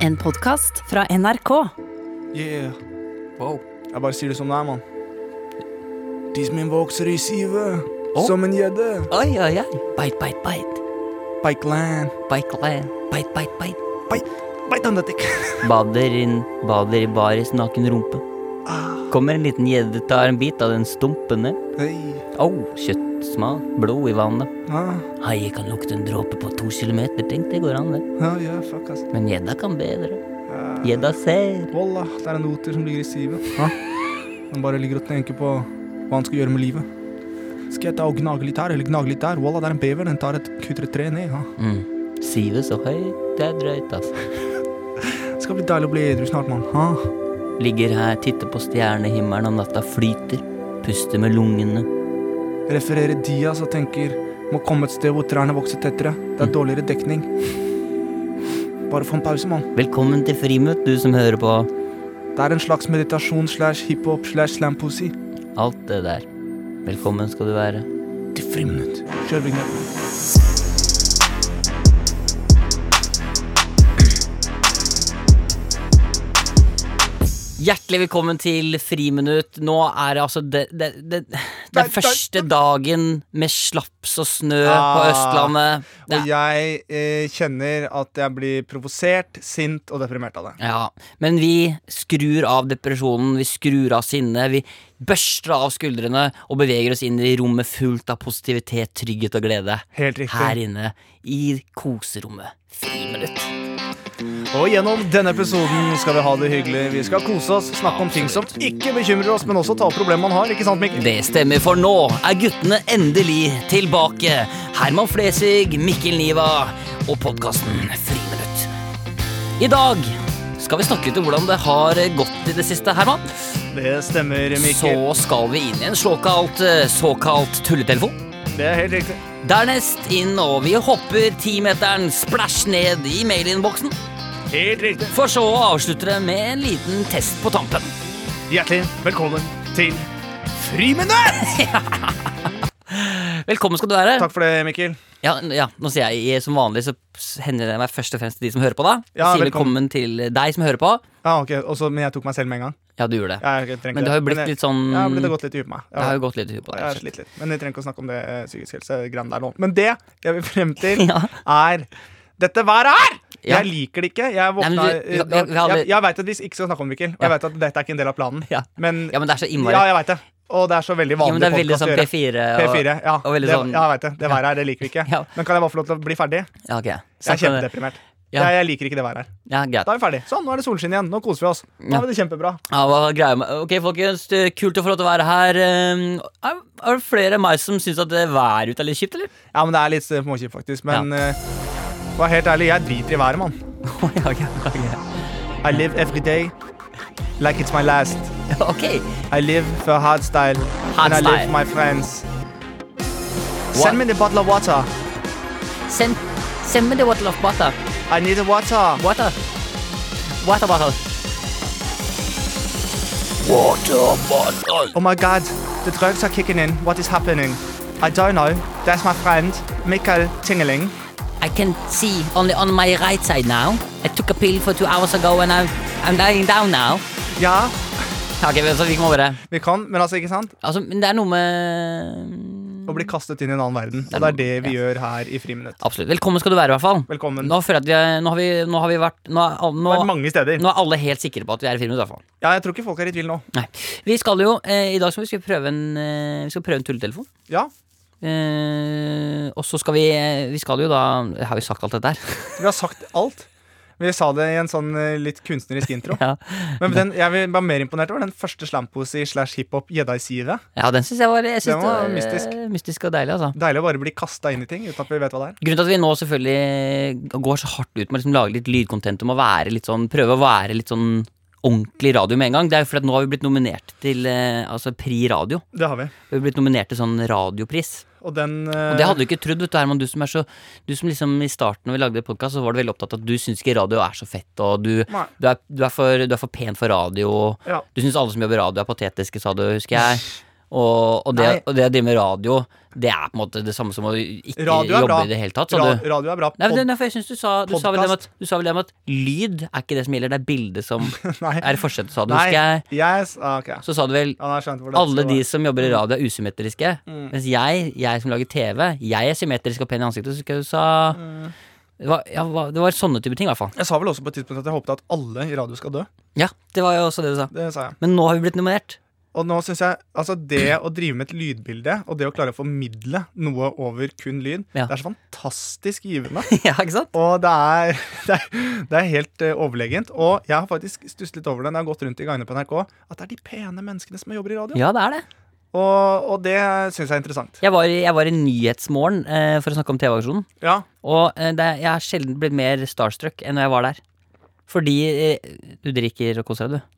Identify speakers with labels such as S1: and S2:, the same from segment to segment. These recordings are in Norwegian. S1: En podkast fra NRK.
S2: Yeah.
S3: Wow.
S2: Jeg bare sier det som det er, mann. Tissen min vokser i sivet,
S3: Å.
S2: som en gjedde.
S3: Oi, oi, oi. Bite, bite, bite.
S2: Pikeland.
S3: Bite, le. bite, bite, bite.
S2: Bite on the dick.
S3: Bader, inn, bader i baris naken rumpe.
S2: Ah.
S3: Kommer en liten gjedde, tar en bit av den stumpen ned.
S2: Hey.
S3: Au, kjøttsmak, blod i vannet.
S2: Ah,
S3: Hai kan lukte en dråpe på to kilometer, tenk det går an det.
S2: ah, yeah, fuck, ass.
S3: Men gjedda kan bedre.
S2: Ah.
S3: Gjedda ser.
S2: Volla, det er en oter som ligger i sivet. Ah. Han bare ligger og tenker på hva han skal gjøre med livet. Skal jeg ta og gnage litt her, eller gnage litt der? Volla, det er en bever, den tar et kutter et tre ned. Ah.
S3: Mm. Sivet så høyt, det er drøyt, altså.
S2: Det skal bli deilig å bli edru snart, mann. Ah.
S3: Ligger her, titter på stjernehimmelen om natta, flyter. Puster med lungene.
S2: Refererer Diaz og tenker må komme et sted hvor trærne vokser tettere. Det er dårligere dekning. Bare få en pause, mann.
S3: Velkommen til friminutt, du som hører på
S2: Det er en slags meditasjon slash hiphop slash slampussy.
S3: alt det der. Velkommen skal du være.
S2: Til friminutt. Kjør vignetten.
S3: Hjertelig velkommen til Friminutt. Nå er det altså det, det, det, det er første dagen med slaps og snø på
S2: Ah.
S3: Østlandet. Det,
S2: Og jeg eh, kjenner at jeg blir provosert, sint og deprimert av det.
S3: ja. Men vi skrur av depresjonen, vi skrur av sinnet, vi børster av skuldrene og beveger oss inn i rommet fullt av positivitet, trygghet og glede.
S2: Helt riktig.
S3: Her inne i koserommet. Friminutt.
S2: Og gjennom denne episoden skal vi ha det hyggelig. Vi skal kose oss, snakke om ting som ikke bekymrer oss, men også ta opp problemer man har. Ikke sant, Mikkel?
S3: Det stemmer, for nå er guttene endelig tilbake. Herman Flesvig, Mikkel Niva og podkasten Friminutt. I dag skal vi snakke litt om hvordan det har gått i det siste, Herman.
S2: Det stemmer, Mikkel.
S3: Så skal vi inn i en såkalt, eh, såkalt tulletelefon.
S2: Det er helt riktig.
S3: Dernest inn, og vi hopper timeteren splæsj ned i mailinnboksen.
S2: Helt riktig.
S3: For så å avslutte det med en liten test på tampen.
S2: Hjertelig velkommen til Friminutt!
S3: Velkommen skal du være.
S2: Takk for det, Mikkel.
S3: Ja, n- ja, nå sier jeg jeg- som vanlig så s- henvender jeg meg først og fremst til de som hører på da.
S2: Ja,
S3: sier
S2: velkommen.
S3: velkommen til deg som hører på.
S2: Ja, Ah, ok, også, Men jeg tok meg selv med en gang.
S3: Ja, du gjorde det.
S2: Ja, jeg trenger
S3: Men det
S2: ikke
S3: har jo blitt
S2: jeg-
S3: litt sånn
S2: Ja, men det har gått litt i huet på meg.
S3: det har jo gått litt i huet på deg.
S2: Jeg
S3: rett
S2: har
S3: og slett.
S2: slitt litt, men vi trenger ikke å snakke om det eh, psykisk helse-greiene der nå. Men det jeg vil frem til,
S3: Ja.
S2: er dette været her!
S3: Ja.
S2: Jeg liker det ikke. Jeg, våkna,
S3: Nei, men du-
S2: eh,
S3: vi- vi- vi har
S2: jeg,
S3: aldri-
S2: jeg veit at vi ikke skal snakke om det, Mikkel. Og
S3: Ja.
S2: jeg vet at dette er ikke en del av planen.
S3: Ja.
S2: Men,
S3: Ja, men det er så innmari
S2: ja, jeg veit det. Og det er så veldig
S3: Ja, men
S2: vanlig
S3: det er veldig
S2: podcast
S3: sånn
S2: å gjøre.
S3: P4 og
S2: P4. Ja,
S3: og veldig
S2: det,
S3: sånn-
S2: ja, jeg veit det. Det været her, det liker vi ikke.
S3: Ja.
S2: Men kan jeg bare få lov til å bli ferdig?
S3: Ja, ok.
S2: Jeg er
S3: Snakk om det.
S2: kjempedeprimert.
S3: Ja.
S2: Jeg, jeg liker ikke det været her.
S3: Ja, greit.
S2: Da er vi ferdig. Sånn, nå er det solskinn igjen. Nå koser vi oss. Nå
S3: Ja.
S2: har vi det kjempebra.
S3: Ja, hva er greia med Ok, folkens, det er kult å få lov til å være her. Ehm, Er er det flere enn meg som syns at det været ute er litt kjipt, eller?
S2: Ja, men det er litt eh, småkjipt, faktisk. Men eh, for å være helt ærlig, jeg driter i været, mann.
S3: Å, ja, ok, ok.
S2: I live every day like it's my last.
S3: Ja, ok.
S2: I live for hardstyle. and I live
S3: Hardstyle.
S2: for my friends. Send me the bottle of water.
S3: Send, send meg det water of butter.
S2: I need the water.
S3: Water. Water bottle. Water bottle.
S2: Oh my god, the drugs are kicking in. What is happening? I don't know. That's my friend, Mikael Tingeling.
S3: I can see only on my right side now. I took a pill for two hours ago and I'm, I'm lying down now.
S2: Ja,
S3: Ok, men så vi må bare
S2: vi kan, men altså, ikke sant?
S3: Altså, men det er noe med
S2: Å bli kastet inn i en annen verden. Og det er det vi gjør her i Friminutt.
S3: Absolutt. Velkommen skal du være, i hvert fall.
S2: Velkommen.
S3: Nå føler jeg at vi er, nå, har vi, nå har vi vært nå, er- nå,
S2: Det har vært mange steder.
S3: nå er alle helt sikre på at vi er i filmen, i hvert fall.
S2: Ja, jeg tror ikke folk er i tvil nå.
S3: Nei. Vi skal jo eh, I dag skal vi skal prøve en, eh, vi skal prøve en tulletelefon.
S2: Ja,
S3: Eh, og så skal vi Vi skal jo da Har vi sagt alt dette her?
S2: vi har sagt alt. Vi sa det i en sånn eh, litt kunstnerisk intro.
S3: ja.
S2: Men den, jeg vil- var mer imponert over den første slamposi slash hiphop gjedda i sivet.
S3: ja, den syns jeg var, jeg synes
S2: Den var
S3: det
S2: mystisk.
S3: eh, mystisk og deilig, altså.
S2: Deilig å bare bli kasta inn i ting uten at vi vet hva det er.
S3: Grunnen til at vi nå selvfølgelig går så hardt ut med å liksom lage litt lydcontent om å være litt sånn prøve å være litt sånn ordentlig radio med en gang, det er jo fordi at nå har vi blitt nominert til eh, altså Pri Radio.
S2: Det har vi.
S3: Vi har blitt nominert til sånn radiopris.
S2: Og den
S3: Og det hadde du ikke trodd, vet du, Herman. Du som er så Du som liksom i starten når vi lagde podkast, så var du veldig opptatt av at du syns ikke radio er så fett, og du,
S2: Nei.
S3: du, er, du, er, for, du er for pen for radio, og
S2: Ja.
S3: du syns alle som jobber i radio er patetiske, sa du, husker jeg. Og, og, det,
S2: Nei.
S3: og det å drive med radio, det er på en måte det samme som å ikke
S2: Radio er
S3: jobbe
S2: bra.
S3: i det hele tatt, sa
S2: Ra
S3: du?
S2: radio er bra.
S3: Nei, men det
S2: Pod
S3: er derfor jeg synes du sa Du sa vel det med at, du sa vel det med at lyd er ikke det som gjelder, det er bildet som
S2: Nei.
S3: er forskjellen, sa du.
S2: Nei.
S3: Husker jeg.
S2: Yes, ah, ok.
S3: Så sa du vel
S2: Han har skjønt hvor dette
S3: alle
S2: skal
S3: de
S2: være.
S3: som jobber i radio, er usymmetriske.
S2: Mm.
S3: Mens jeg, jeg som lager TV, jeg er symmetrisk og pen i ansiktet. Så husker jeg du sa
S2: Mm.
S3: det var, ja, hva- det var sånne type ting, i hvert fall.
S2: Jeg sa vel også på et tidspunkt at jeg håpet at alle i radio skal dø.
S3: Ja, det var jo også det du sa.
S2: Det sa jeg.
S3: Men nå har vi blitt nominert.
S2: Og nå synes jeg, altså Det å drive med et lydbilde og det å klare å formidle noe over kun lyd,
S3: Ja.
S2: det er så fantastisk givende.
S3: ja, ikke sant?
S2: Og det er, det er, det er helt eh, overlegent. Og jeg har faktisk stusset litt over det når jeg har gått rundt i gangene på NRK, at det er de pene menneskene som jobber i radio.
S3: Ja, det er det.
S2: Og, og det syns jeg er interessant.
S3: Jeg var, i- jeg var i Nyhetsmorgen eh, for å snakke om TV-aksjonen.
S2: Ja,
S3: Og eh, det, jeg har sjelden blitt mer starstruck enn når jeg var der. Fordi eh, du drikker og koser deg, du.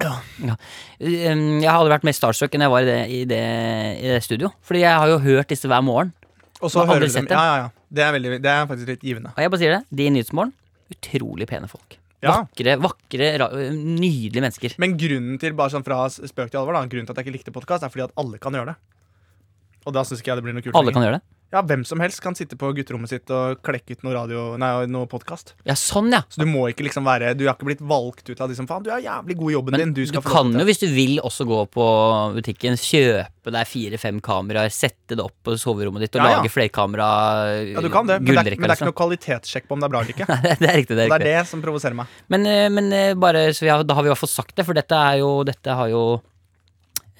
S2: Ja.
S3: Um, Jeg har aldri vært mer starstruck enn jeg var i det, i, det, i det studio. Fordi jeg har jo hørt disse hver morgen.
S2: Og så
S3: Jeg har aldri
S2: hører du
S3: sett
S2: dem.
S3: det.
S2: Ja, ja, ja. Det er, veldig, det er faktisk litt givende.
S3: Og jeg bare sier det, de i Nyhetsmorgen, utrolig pene folk.
S2: Ja.
S3: Vakre, vakre, ra- nydelige mennesker.
S2: Men grunnen til bare sånn fra s- spøk til alvor da, grunnen til at jeg ikke likte podkast, er fordi at alle kan gjøre det. Og da syns ikke jeg det blir noe kult.
S3: Alle
S2: lenger.
S3: kan gjøre det.
S2: Ja, Hvem som helst kan sitte på gutterommet sitt og klekke ut noe radio Nei, noe podkast.
S3: Ja, sånn, ja.
S2: Så du må ikke liksom være Du har ikke blitt valgt ut av de som faen. Du er jævlig god i jobben
S3: Men
S2: din.
S3: du,
S2: Du skal få lov
S3: kan
S2: til
S3: jo,
S2: det».
S3: hvis du vil, også gå på butikken, kjøpe deg fire-fem kameraer, sette det opp på soverommet ditt og
S2: Ja, ja.
S3: lage flerkamera
S2: Ja, du kan det, men det, er,
S3: gullrekke,
S2: men det er ikke
S3: liksom.
S2: noe kvalitetssjekk på om det er bra eller ikke.
S3: Nei, det er riktig. det
S2: Og det
S3: er
S2: er
S3: riktig
S2: det som provoserer meg.
S3: Men, eh, men eh, bare så vi har, da har vi i hvert fall sagt det, for dette er jo Dette har jo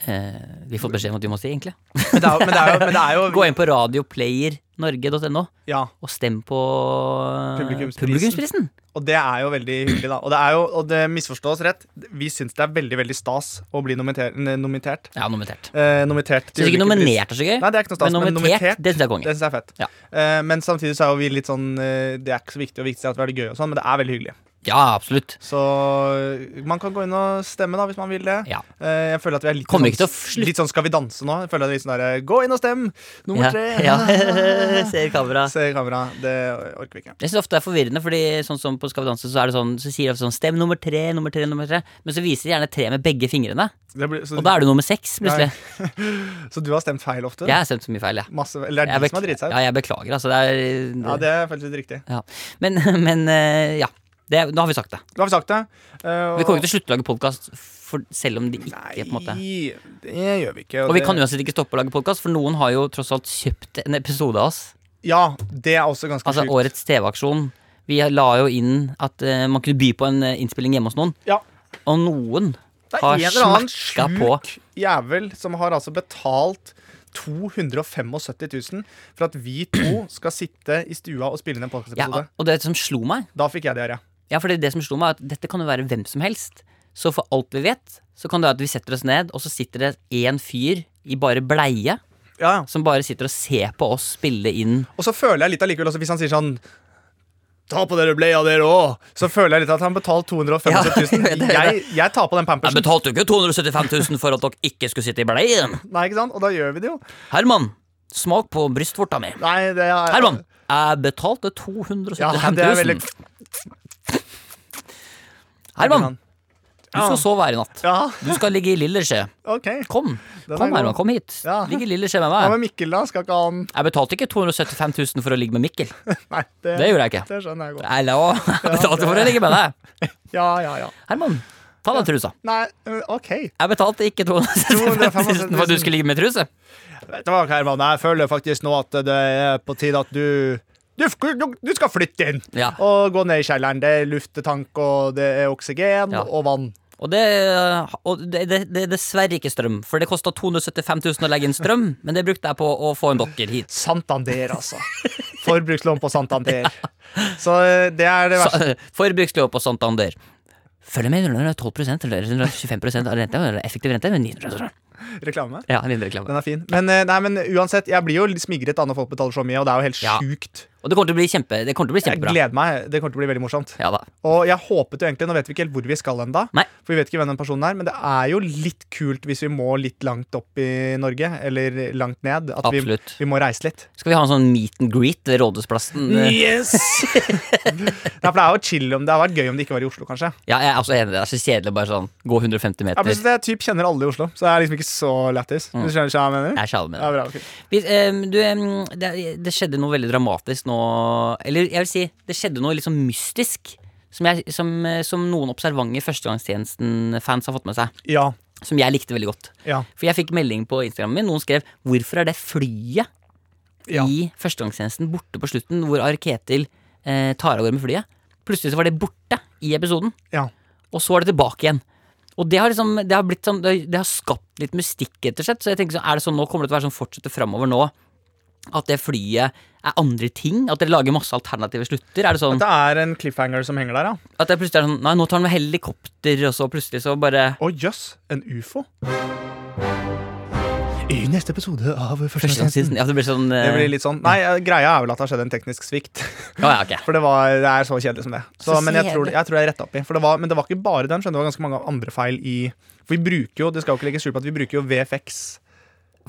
S3: eh, vi har fått beskjed om at vi må si, egentlig.
S2: Men det er, jo- men det er jo, men det er jo
S3: Gå inn på radioplayernorge.no
S2: Ja,
S3: og stem på eh,
S2: Publikumsprisen.
S3: Publikumsprisen.
S2: Og det er jo veldig hyggelig, da. Og det, er jo, og det misforstås rett. Vi syns det er veldig veldig stas å bli nominert. nominert.
S3: Ja, nominert.
S2: Eh, nominert til
S3: Syns ikke
S2: ulike pris.
S3: nominert er så gøy,
S2: Nei, det er ikke noe stas,
S3: men
S2: men
S3: nominert,
S2: nominert,
S3: det syns jeg
S2: Det
S3: er konge.
S2: syns jeg er fett.
S3: Ja.
S2: Eh, men samtidig så er jo vi litt sånn eh, Det er ikke så viktig, og viktig at det er gøy, og sånn, men det er veldig hyggelig.
S3: Ja, absolutt.
S2: Så eh, man kan gå inn og stemme, da, hvis man vil det.
S3: Ja.
S2: Eh, jeg føler at vi er litt,
S3: Kommer
S2: sånn,
S3: ikke til å slutte.
S2: litt sånn Skal vi danse nå? Jeg føler at vi er litt sånn der, Gå inn og stem! Nummer
S3: Ja,
S2: tre!
S3: ja. Ser kamera.
S2: Se i kamera. Det orker vi ikke.
S3: Jeg synes ofte det er forvirrende, Fordi sånn som på Skal vi danse, så, er det sånn, så sier de ofte sånn Stem nummer tre, nummer tre, nummer tre. Men så viser de gjerne tre med begge fingrene.
S2: Det blir, så,
S3: Og da er du nummer seks, plutselig.
S2: så du har stemt feil ofte?
S3: Jeg har stemt så mye feil, jeg.
S2: Masse, eller det er de
S3: Jeg
S2: som
S3: bekl-
S2: har driti seg ut?
S3: ja, jeg beklager, altså. Det er,
S2: Ja, det er faktisk litt riktig.
S3: ja. Men, men eh, ja. Det, nå har vi sagt det.
S2: Da har vi sagt det. Eh,
S3: Vi kommer ikke til å slutte å lage podkast selv om de ikke på en måte
S2: Nei, det gjør vi ikke.
S3: Og vi
S2: det-
S3: kan uansett ikke stoppe å lage podkast, for noen har jo tross alt kjøpt en episode av oss.
S2: Ja, det er også ganske
S3: Altså
S2: sjukt.
S3: årets TV-aksjon. Vi la jo inn at eh, man kunne by på en eh, innspilling hjemme hos noen,
S2: Ja.
S3: og noen
S2: Det
S3: har
S2: er en eller annen
S3: smakka på.
S2: sjuk jævel som har altså betalt 275 000 for at vi to skal sitte i stua og spille inn en
S3: Ja,
S2: podkastepisode.
S3: og det som slo meg
S2: Da fikk jeg diaré.
S3: Ja, for det, det som slo meg er at dette kan jo være hvem som helst Så for alt vi vet Så kan det være at vi setter oss ned Og så sitter det en fyr i bare bleie
S2: Ja, ja.
S3: Som bare sitter og ser på oss spille inn
S2: Og så føler jeg litt allikevel også, hvis han sier sånn Ta på dere bleia dere òg! Så føler jeg litt at han betaler 275 000. Jeg, jeg tar på den
S3: Jeg
S2: pampersen.
S3: betalte jo ikke 275 000 for at dere ikke skulle sitte i bleien
S2: Nei, ikke sant? Og da gjør vi det jo.
S3: Herman, smak på brystvorta mi
S2: Nei, det er
S3: Herman, jeg betalte 275
S2: Ja,
S3: 000
S2: det er veldig
S3: Herman, du
S2: Ja.
S3: skal sove her i natt
S2: Ja,
S3: Du skal ligge i Lillersjø
S2: OK.
S3: Kom,
S2: Den er
S3: kom
S2: god.
S3: Herman, kom hit
S2: Ja.
S3: Ligg i Lillersjø med
S2: Hva
S3: meg
S2: med Mikkel, da? Skal ikke han
S3: Jeg betalte ikke 275 000 for å ligge med Mikkel
S2: Nei, det,
S3: Det gjorde jeg ikke
S2: det skjønner jeg godt.
S3: Eller å, jeg betalte for å ligge med deg.
S2: Ja, ja, ja.
S3: Herman, ta deg trusa.
S2: Nei, øh, OK.
S3: Jeg betalte ikke 275 000 for at du skulle ligge med truse.
S2: Vet du hva, Herman, jeg føler faktisk nå at det er på tide at du du, f- du, du skal flytte inn
S3: Ja.
S2: og gå ned i kjelleren. Det er luftetank, og det er oksygen
S3: Ja.
S2: og vann.
S3: Og det, og det, det, det er dessverre ikke strøm, for det kosta 275 000 å legge inn strøm, men det brukte jeg på å få en dokker hit.
S2: Santander, altså. Forbrukslån på Santander. Så øh, det er det
S3: Så, eh,
S2: verste.
S3: Forbrukslån på Santander. Følg med, når det er 12 eller 25 av rente, eller effektiv rente, men 900 kroner.
S2: Reklame.
S3: Ja, mindre reklame.
S2: eh, Den er fin. Men, øh, nei, men uansett, jeg blir jo litt smigret da når folk betaler så mye, og det er jo helt
S3: Ja.
S2: sjukt.
S3: Og det kommer til å bli, kjempe, det kommer til å bli
S2: Jeg
S3: kjempebra.
S2: gleder meg. Det kommer til å bli veldig morsomt.
S3: Ja da.
S2: Og jeg håpet jo egentlig, Nå vet vi ikke helt hvor vi skal enda
S3: Nei.
S2: For vi vet ikke hvem den personen er, men det er jo litt kult hvis vi må litt langt opp i Norge. Eller langt ned. At vi,
S3: Absolutt.
S2: vi må reise litt.
S3: Skal vi ha en sånn meet and greet ved Rådhusplassen?
S2: Yes! Nei, for det er jo chill om det har vært gøy om det ikke var i Oslo, kanskje.
S3: Ja, jeg er også enig. Det er så kjedelig å bare sånn gå 150
S2: Ja,
S3: meter.
S2: plutselig jeg typ kjenner alle i Oslo, så det er liksom ikke så lættis. Du skjønner hva jeg mener?
S3: Jeg er sjalm med det.
S2: Ja, bra, ok.
S3: Vi, ehm, du, ehm, det, det skjedde noe veldig dramatisk nå Eller jeg vil si, det skjedde noe litt sånn mystisk. Som, jeg, som, eh, som noen observante Førstegangstjenesten-fans har fått med seg.
S2: ja,
S3: Som jeg likte veldig godt.
S2: ja,
S3: For jeg fikk melding på Instagramen min. Noen skrev 'Hvorfor er det flyet
S2: ja.
S3: i Førstegangstjenesten borte på slutten?' Hvor Ar-Ketil eh, tar av gårde med flyet. Plutselig så var det borte i episoden.
S2: ja.
S3: Og så er det tilbake igjen. Og det har, liksom, det har, blitt sånn, det har, det har skapt litt mystikk, rett og slett. Så jeg tenker sånn, er det sånn nå kommer det til å være sånn fortsette framover nå? At det flyet er andre ting? At dere lager masse alternative slutter? Er det sånn
S2: Det er en cliffhanger som henger der, ja.
S3: at det plutselig er sånn Nei, nå tar han med helikopter, og så plutselig så bare
S2: Å jøss, en ufo? I neste episode av Førstegangstjenesten.
S3: Ja, det blir sånn
S2: Det
S3: eh,
S2: blir litt sånn Nei, greia er vel at det har skjedd en teknisk svikt.
S3: Ja, ja, ok.
S2: For det, var, det er så kjedelig som det. Så,
S3: Så
S2: men jeg tror,
S3: kjedelig.
S2: jeg tror jeg retta opp i. For det var, men det var ikke bare den. skjønner du, Det var ganske mange andre feil i For vi bruker jo det skal jo ikke legges skjul på at vi bruker jo VFX.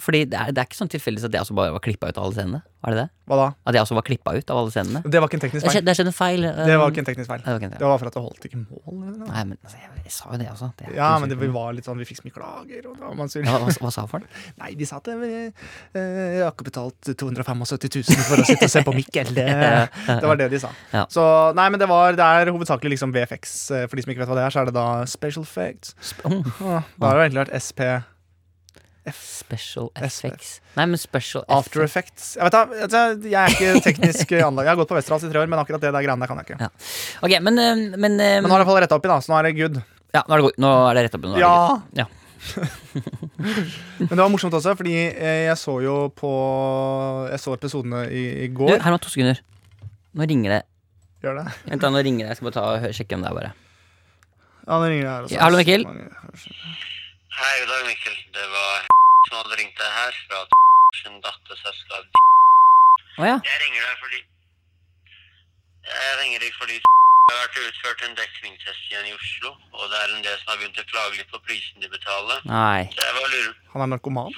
S3: Fordi det er, det er ikke sånn tilfeldigvis at jeg også bare var klippa ut av alle scenene? Var det det?
S2: Hva da?
S3: At jeg også var klippa ut av alle scenene?
S2: Det var ikke en teknisk
S3: Det
S2: feil.
S3: skjedde, det skjedde en feil. eh,
S2: Det var ikke en teknisk feil.
S3: det var ikke en-
S2: Det var for at det holdt ikke mål. eller noe.
S3: Nei, men altså, jeg, jeg sa jo det også. Det er
S2: Ja,
S3: ikke
S2: men det
S3: sikkert.
S2: var litt sånn Vi fikk så mye klager, og da var man sur.
S3: ja, hva, hva sa folk?
S2: Nei, de sa at eh, eh, jeg har ikke betalt 275 000 for å sitte og se på Mikkel. Det det var det de sa.
S3: Ja.
S2: Så nei, men det, var, det er hovedsakelig liksom VFX. eh, For de som ikke vet hva det er, så er det da special effects.
S3: Sp- Åh.
S2: Åh, Da har det egentlig vært SP
S3: Special
S2: SF.
S3: effects. Nei, men special
S2: After Effects.
S3: effects.
S2: Jeg, vet, da, vet du, jeg er ikke teknisk anlagt. Jeg har gått på Westerdals i tre år, men akkurat det der greiene der kan jeg ikke.
S3: Ja. Ok, men, eh, men, eh,
S2: Men nå har jeg i hvert fall retta opp i, da, så nå er det good.
S3: ja, nå, er det god. nå er det rett opp. Nå er det
S2: Ja.
S3: good. Ja.
S2: Men det var morsomt også, fordi eh, jeg så jo på Jeg så episodene i, i
S3: Du,
S2: går.
S3: Herman, to sekunder. Nå ringer det.
S2: Gjør det?
S3: Vent da, nå ringer det. Jeg skal bare ta og hø- sjekke om det er bare
S2: Ja, det ringer her altså. også.
S3: Hallo, Mikkel.
S4: Hei, god dag, Mikkel. Det var som hadde ringt deg her fra sin datterselskap.
S3: Å ja.
S4: Jeg ringer deg fordi Jeg ringer deg fordi det har vært utført en dekningstest igjen i Oslo, og det er en del som har begynt å klage litt på prisen de betaler.
S3: Nei.
S4: Så jeg bare lurer
S2: Han er narkoman.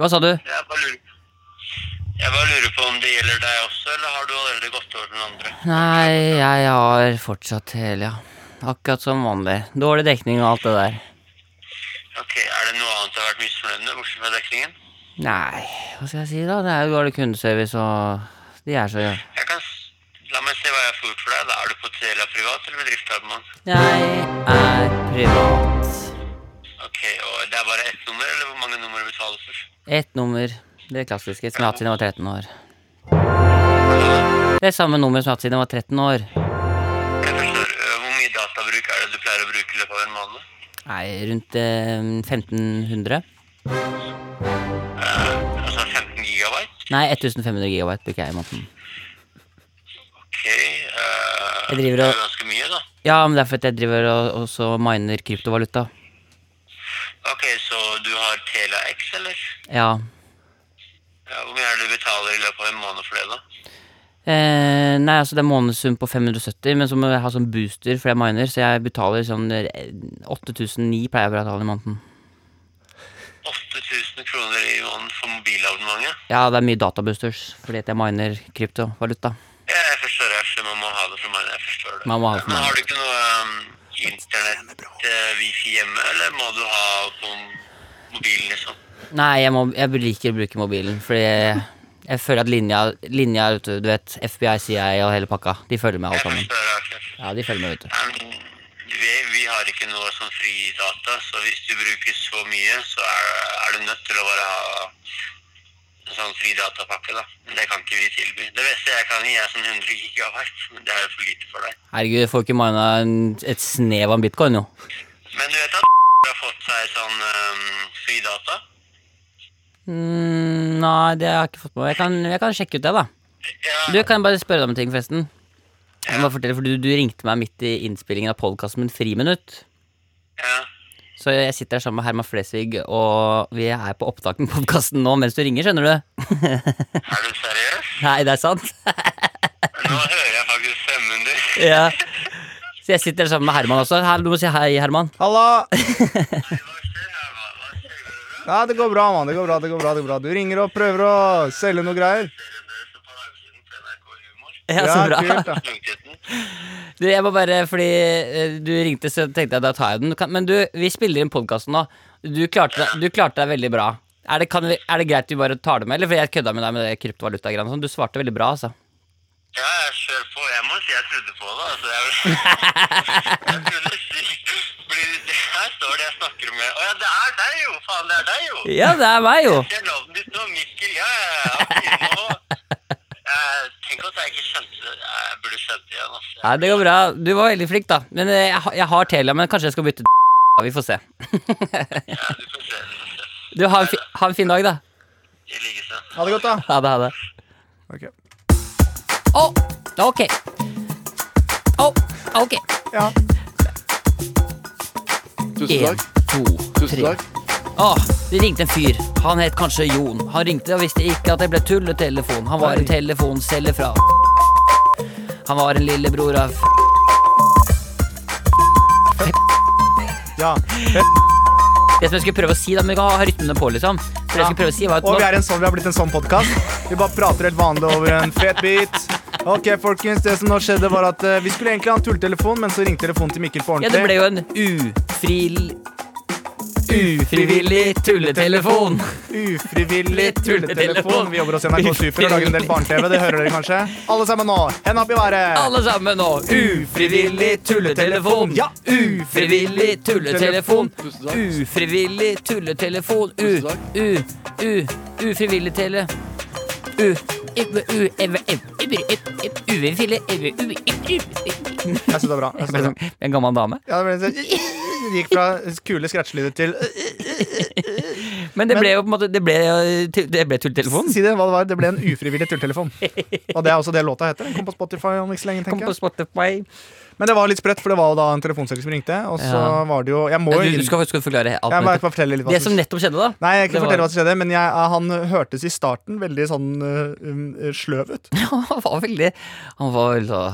S3: Hva sa du?
S4: Jeg bare lurer jeg bare lurer på om det gjelder deg også, eller har du allerede gått over den andre?
S3: Nei, jeg har fortsatt hele, ja. Akkurat som vanlig. Dårlig dekning og alt det der.
S4: Ok, Er det noe annet du har vært misfornøyd med, bortsett fra dekningen?
S3: Nei, hva skal jeg si da? Det er jo dårlig kundeservice og De er så
S4: Jeg kan... s- La meg se hva jeg får gjort for deg. da. Er du på Telia privat eller bedriftsabonnement?
S3: Jeg er privat.
S4: Ok, og det er bare ett nummer, eller hvor mange nummer du betaler for?
S3: Ett nummer. Det klassiske som jeg har hatt siden jeg var 13 år. Det er samme nummer som jeg har hatt siden jeg var 13 år.
S4: Jeg forstår, øh, Hvor mye databruk er det du pleier å bruke i løpet av en måned?
S3: Nei, rundt eh, 1500.
S4: Altså 15 gigabyte?
S3: Nei, 1500 gigabyte bruker jeg i måneden.
S4: Ok, øh,
S3: Jeg driver
S4: det
S3: og-
S4: er jo ganske mye da.
S3: Ja, men det er fordi jeg driver og og så miner kryptovaluta.
S4: Ok, så du har Telia X, eller?
S3: Ja.
S4: Ja, hvor mye er det du betaler i løpet av en måned for det, da?
S3: Eh, nei, altså det er månedssum på 570, men så må jeg ha sånn booster fordi jeg miner, så jeg betaler sånn eh, 8009 pleier jeg å betale i måneden.
S4: 8000 kroner i måneden for mobilabonnementet?
S3: Ja, det er mye databoosters fordi at jeg miner kryptovaluta.
S4: Ja, jeg forstår, jeg forstår, man må ha det for meg, jeg forstår det.
S3: Man må ha det for
S4: Men
S3: meg.
S4: har du ikke noe øh, internett, øh, wifi hjemme, eller må du ha på mobilen, liksom?
S3: Nei, jeg, må, jeg liker å bruke mobilen, fordi jeg, jeg føler at linja, linja er ute, du vet, FBI, CIA og hele pakka, de følger med
S4: Jeg
S3: alt sammen.
S4: forstår, jeg forstår.
S3: Ja, de følger med, vet du.
S4: Nei, men Vi, vi har ikke noe sånn fri data, så hvis du bruker så mye, så er, er du nødt til å bare ha en sånn fri datapakke, da. Men det kan ikke vi tilby. Det beste jeg kan gi, er sånn 100 gigabyte, men det er jo for lite for deg.
S3: Herregud, jeg får ikke mina en- et snev av en bitcoin, jo.
S4: Men du vet at har fått seg sånn ehm, fri data?
S3: Mm, nei, det har jeg ikke fått med meg. Jeg kan, jeg kan sjekke ut det, da.
S4: Ja,
S3: Du, kan jeg bare spørre deg om en ting, forresten? Jeg må bare fortelle, for du, du ringte meg midt i innspillingen av podkasten min Friminutt.
S4: ja.
S3: Så jeg sitter her sammen med Herman Flesvig, og vi er på opptak med podkasten nå mens du ringer, skjønner du.
S4: Er du seriøs?
S3: Nei, det er sant.
S4: Nå hører jeg faktisk stemmen din.
S3: ja. Så jeg sitter her sammen med Herman også. Her, du må si hei, Herman.
S2: Halla!
S4: Hva skjer her, mann? Hva skjer? Går det bra?
S2: Ja, det går bra, mann. Det går bra, det går bra. det går bra Du ringer og prøver å selge noe greier.
S4: Dere bøs på langsiden på NRK Humor.
S3: Ja, så bra.
S2: kult, da.
S4: Langtiden.
S3: Du, jeg må bare, fordi eh, du ringte, så tenkte jeg da tar jeg den. Du kan- Men du, vi spiller inn podkasten nå. Du klarte, deg- du klarte deg veldig bra. Er det, kan vi, er det greit vi bare tar det med, eller? For jeg kødda med deg med det kryptovaluta-greiene. og sånn. Du svarte veldig bra, altså.
S4: Ja, jeg kjør på. Jeg må si jeg trodde på det. altså. Jeg, jeg trodde sykt. Fordi det her står det jeg snakker med. Å ja, det er deg, jo! Faen, det er deg, jo!
S3: Ja, det er meg, jo.
S4: Jeg ser navnet ditt nå. Mikkel. Ja, ja, ja. Nå- Eh, Tenk at jeg ikke kjente det. Jeg burde kjent det igjen. altså.
S3: Nei, det går bra. Du var veldig flink, da. Men eh, jeg, har- jeg har Telia, men kanskje jeg skal bytte Ja, Vi får se.
S4: Ja, du får se. Du får se. sånn.
S3: Du, ha en, fi, ha en fin dag, da.
S4: I likeså.
S2: Ha det godt, da.
S3: Ha det, ha det.
S2: Ok.
S3: Å, ok. Å, ok.
S2: Ja.
S5: Tusen
S3: Én,
S5: takk.
S3: to,
S5: Tusen
S3: tre.
S5: takk.
S3: Åh, det ringte en fyr. Han het kanskje Jon. Han ringte og visste ikke at det ble tulletelefon. Han var en telefonselger fra Han var en lillebror av
S2: ja.
S3: Det som jeg skulle prøve å si, da, men vi kan ha rytmene på, liksom. Så det jeg skulle prøve å si var at
S2: Og vi,
S3: nå,
S2: er en sånn, vi har blitt en sånn podkast. Vi bare prater helt vanlig over en fet bit. Ok, folkens, det som nå skjedde var at eh, Vi skulle egentlig ha en tulltelefon, men så ringte telefonen til Mikkel på
S3: Ja, det ble
S2: ordentlig.
S3: jo en ufril... Ufrivillig tulletelefon.
S2: Ufrivillig tulletelefon. Vi jobber hos NRK Super og lager en del barne-TV. Det hører dere kanskje? Alle sammen nå, hendene opp i været.
S3: Alle sammen nå. Ufrivillig tulletelefon.
S2: Ja.
S3: Ufrivillig tulletelefon.
S5: Tusen takk.
S3: Ufrivillig tulletelefon. U,
S5: Tusen takk.
S3: u, u, ufrivillig tele. U, ev, u, ev, ev, ev, ev, ev, ufrivillig, ev, u, E. ev, ev.
S2: Jeg synes det var bra. Jeg synes det var bra.
S3: sånn, En gammel dame.
S2: Ja, det, ble sånn- det gikk fra kule scratchelyder til
S3: Men det ble jo på en måte Det ble, jo- det ble tulletelefon.
S2: Si det, hva det var. Det ble en ufrivillig tulltelefon. Og det er også det låta heter. Den kom på Spotify om ikke så lenge,
S3: Kom
S2: tenker
S3: på
S2: jeg.
S3: Spotify.
S2: Men det var litt sprøtt, for det var jo da en telefonselger som ringte, og så
S3: Ja.
S2: var det jo Jeg må jo
S3: Du, du skal faktisk forklare alt.
S2: Jeg må
S3: om
S2: bare
S3: dette.
S2: fortelle litt hva
S3: Det som nettopp skjedde, da.
S2: Nei, jeg kan
S3: Det
S2: ikke
S3: var-
S2: fortelle hva som skjedde, men jeg, eh, han hørtes i starten veldig sånn øh, um, sløv ut.
S3: Han var veldig Han var veldig så-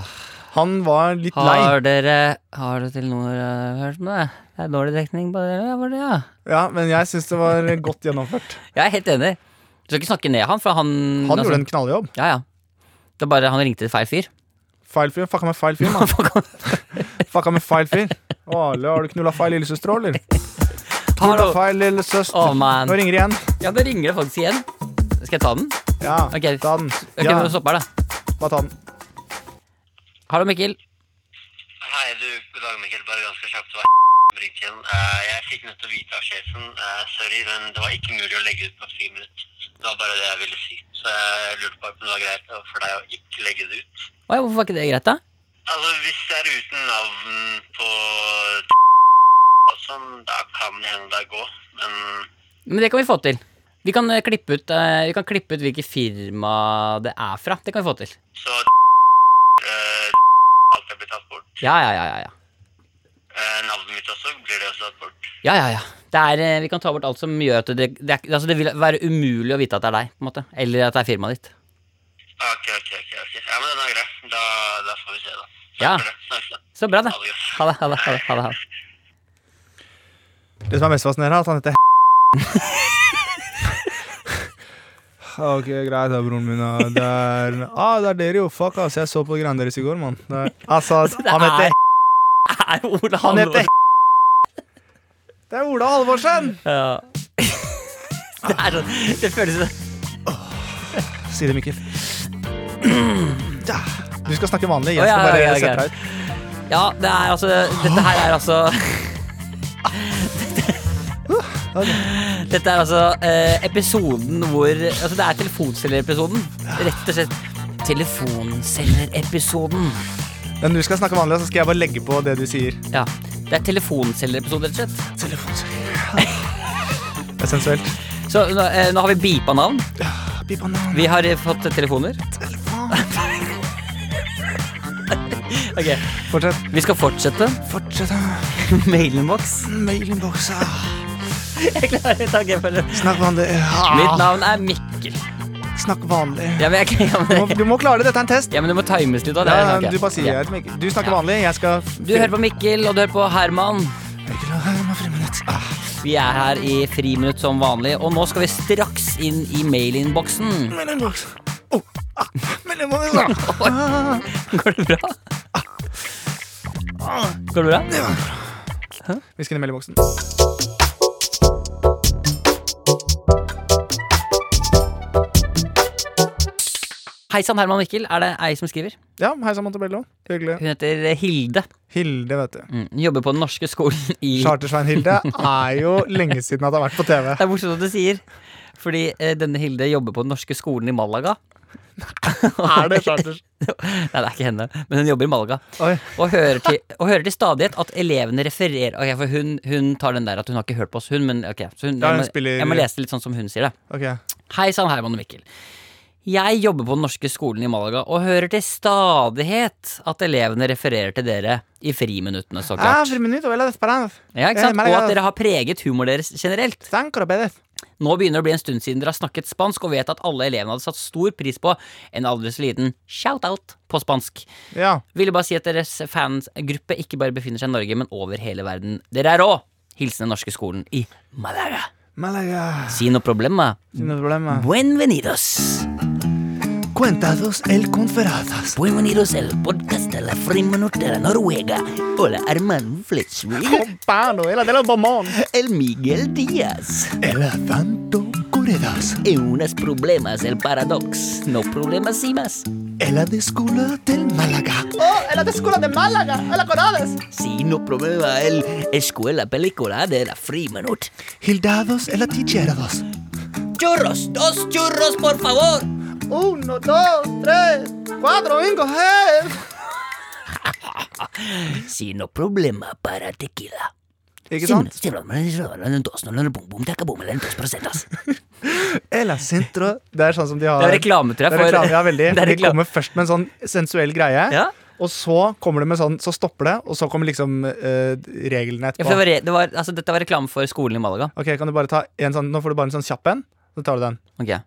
S2: Han var litt lei.
S3: Har dere Har dere Telenor eh, hørt med det? Det er dårlig dekning på dere, ja, var det, ja.
S2: Ja, men jeg syns det var godt gjennomført.
S3: Jeg er helt enig. Du skal ikke snakke ned han, for han
S2: Han
S3: altså-
S2: gjorde en knalljobb.
S3: Ja, ja. Det er bare han ringte feil fyr.
S2: Feil fyr. Fucka med feil fyr, mann. Fucka med feil fyr. Å, Ale, har du knulla feil lillesøster òg, eller? Knulla
S3: Hallo.
S2: feil lillesøster.
S3: Å, man.
S2: Nå ringer det igjen.
S3: Ja, det ringer det faktisk igjen. Skal jeg ta den?
S2: Ja,
S3: Ok.
S2: ta den.
S3: Ok,
S2: Ja,
S3: men stopp her, da.
S2: bare ta den.
S3: Hallo, Mikkel.
S4: Hei, du. God dag, Mikkel. Bare ganske kjapt. Det var Brinken. Eh, Jeg fikk nettopp vite av sjefen. eh, Sorry, men det var ikke mulig å legge ut på friminutt. Det var bare det jeg ville si. Så jeg lurte på om det var greit for deg å ikke legge det ut.
S3: Oi, hvorfor var ikke det greit, da?
S4: Altså, hvis det er uten navn på og sånn, da kan det hende det går. Men
S3: Men det kan vi få til. Vi kan eh, klippe ut, eh, vi kan klippe ut hvilket firma det er fra. Det kan vi få til.
S4: så eh, Alt er blitt tatt bort.
S3: Ja, ja, ja. ja, ja.
S4: Eh, Navnet mitt også blir det også tatt bort.
S3: Ja, ja, ja. Det er, eh, vi kan ta bort alt som gjør at det, det, er, ikke- altså det vil være umulig å vite at det er deg. på en måte Eller at det er firmaet ditt.
S4: Ah, Ok, ok, ok. ok. Ja, men den er grei. Da, da får vi se, da. Takk
S3: Ja.
S4: for det. Snakkes da.
S3: Så bra, det.
S4: Ha det godt.
S3: Ha det. ha det, ha det, ha det, ha det.
S2: Det som er mest fascinerende, er at han heter Ok, greit da, broren min. da. Det er Ah, det er dere, jo. Fuck, ass. Jeg så på greiene deres i går, mann. Det er- Altså, han heter
S3: Er Ola
S2: Han heter Det er Ola Halvorsen!
S3: Ja. Det er sånn Det føles som
S2: Si det, Mikkel. Ja. Du skal snakke vanlig. Jeg
S3: Å, ja,
S2: skal
S3: ja, ja,
S2: bare
S3: ok.
S2: sette deg ut.
S3: Ja, det er altså Dette her er altså Dette er altså eh, episoden hvor Altså, det er telefonselgerepisoden. Rett og slett. Telefonselgerepisoden.
S2: Men du skal snakke vanlig, og så skal jeg bare legge på det du sier.
S3: Ja. Det er telefonselgerepisode, rett og slett.
S2: Det er sensuelt.
S3: Så nå, eh, nå har vi beepa navn.
S2: Bi banan.
S3: Vi har eh, fått telefoner. Ok,
S2: Fortsett.
S3: Vi skal fortsette.
S2: Fortsett, da.
S3: Mailinnboks.
S2: Mailinnboksa.
S3: Jeg klarer ikke å gemme det.
S2: Snakk vanlig.
S3: Mitt navn er Mikkel.
S2: Snakk vanlig.
S3: Ja, men, jeg, kan- ja,
S2: Du
S3: men,
S2: må, du må klare det. Dette er en test.
S3: ja, men det må times litt. Da. Det
S2: Ja,
S3: er- ok.
S2: du bare sier
S3: Ja.
S2: at Mikkel- Du snakker vanlig, jeg skal
S3: Du hører på Mikkel, og du hører på Herman.
S2: Mikkel og Herman Friminutt. Ah,
S3: Vi er her i friminutt som vanlig, og nå skal vi straks inn i mailinnboksen.
S2: Mailinnboks. Oh, ah, mailinnboksa. Ah,
S3: Går det bra?
S2: ah.
S3: Går det bra?
S2: Vi skal inn i meldeboksen.
S3: Hei sann, Herman og Mikkel. Er det ei som skriver?
S2: Ja, hei sann, Montebello. Hyggelig.
S3: Hun heter Hilde.
S2: Hilde, vet du.
S3: Mm, Hun jobber på den norske skolen i
S2: Chartersvein Hilde er jo lenge siden at det har vært på TV.
S3: Det er morsomt at du sier. Fordi eh, denne Hilde jobber på den norske skolen i Malaga.
S2: Er det charters?
S3: Nei, det er ikke henne, men hun jobber i Malaga.
S2: Oi.
S3: Og hører til, og hører til stadighet at elevene refererer Ok, for hun, hun tar den der at hun har ikke hørt på oss, hun, men ok. Så hun,
S2: Ja, hun
S3: jeg, må,
S2: spiller-
S3: jeg må lese litt sånn som hun sier det.
S2: Ok.
S3: Hei sann, Herman og Mikkel. Jeg jobber på den norske skolen i Malaga og hører til stadighet at elevene refererer til dere i friminuttene, så
S2: Ah,
S3: klart.
S2: friminutt, hola, desperado.
S3: Ja, ikke sant?
S2: Eh,
S3: Og
S2: Malaga.
S3: at dere har preget humoren deres generelt.
S2: San Corbedes.
S3: Nå begynner det å bli en stund siden dere har snakket spansk og vet at alle elevene hadde satt stor pris på en aldri så liten shout-out på spansk.
S2: Ja.
S3: Ville bare si at deres fansgruppe ikke bare befinner seg i Norge, men over hele verden. Dere er rå! Hilsen den norske skolen i Malaga.
S2: Málaga,
S3: Si noe problema.
S2: sin problema.
S3: Buenvenidos.
S2: Cuentados el conferadas.
S3: Buenvenidos el podcast de la friminut de la Noruega. Hola, hermano Flesvig.
S2: Compano, el de los bomón.
S3: El Miguel Díaz.
S2: El Santo Curedas.
S3: En unas problemas el paradox. No problemas y más.
S2: El de escuela del Málaga.
S3: Si no prueba el escuela película de la Freemanut.
S2: Hildados el Aticherados.
S3: ¡Churros! ¡Dos churros, por favor!
S2: Uno, dos, tres, cuatro, cinco, seis.
S3: Si no problema para tequila.
S2: Ikke sant?
S3: Det
S2: El Centro. Det er sånn som de har
S3: er reklame, tror jeg.
S2: Det er reklame, ja, veldig.
S3: Det er
S2: De
S3: reklame.
S2: kommer først med en sånn sensuell greie.
S3: Ja.
S2: Og så kommer det med sånn, så stopper det, og så kommer liksom eh, reglene
S3: Ja,
S2: etterpå.
S3: for det var, re- det var, altså, dette var reklame for skolen i Malaga.
S2: Ok, kan du bare ta en sånn, Nå får du bare en sånn kjapp en. Så tar du den.
S3: Ok.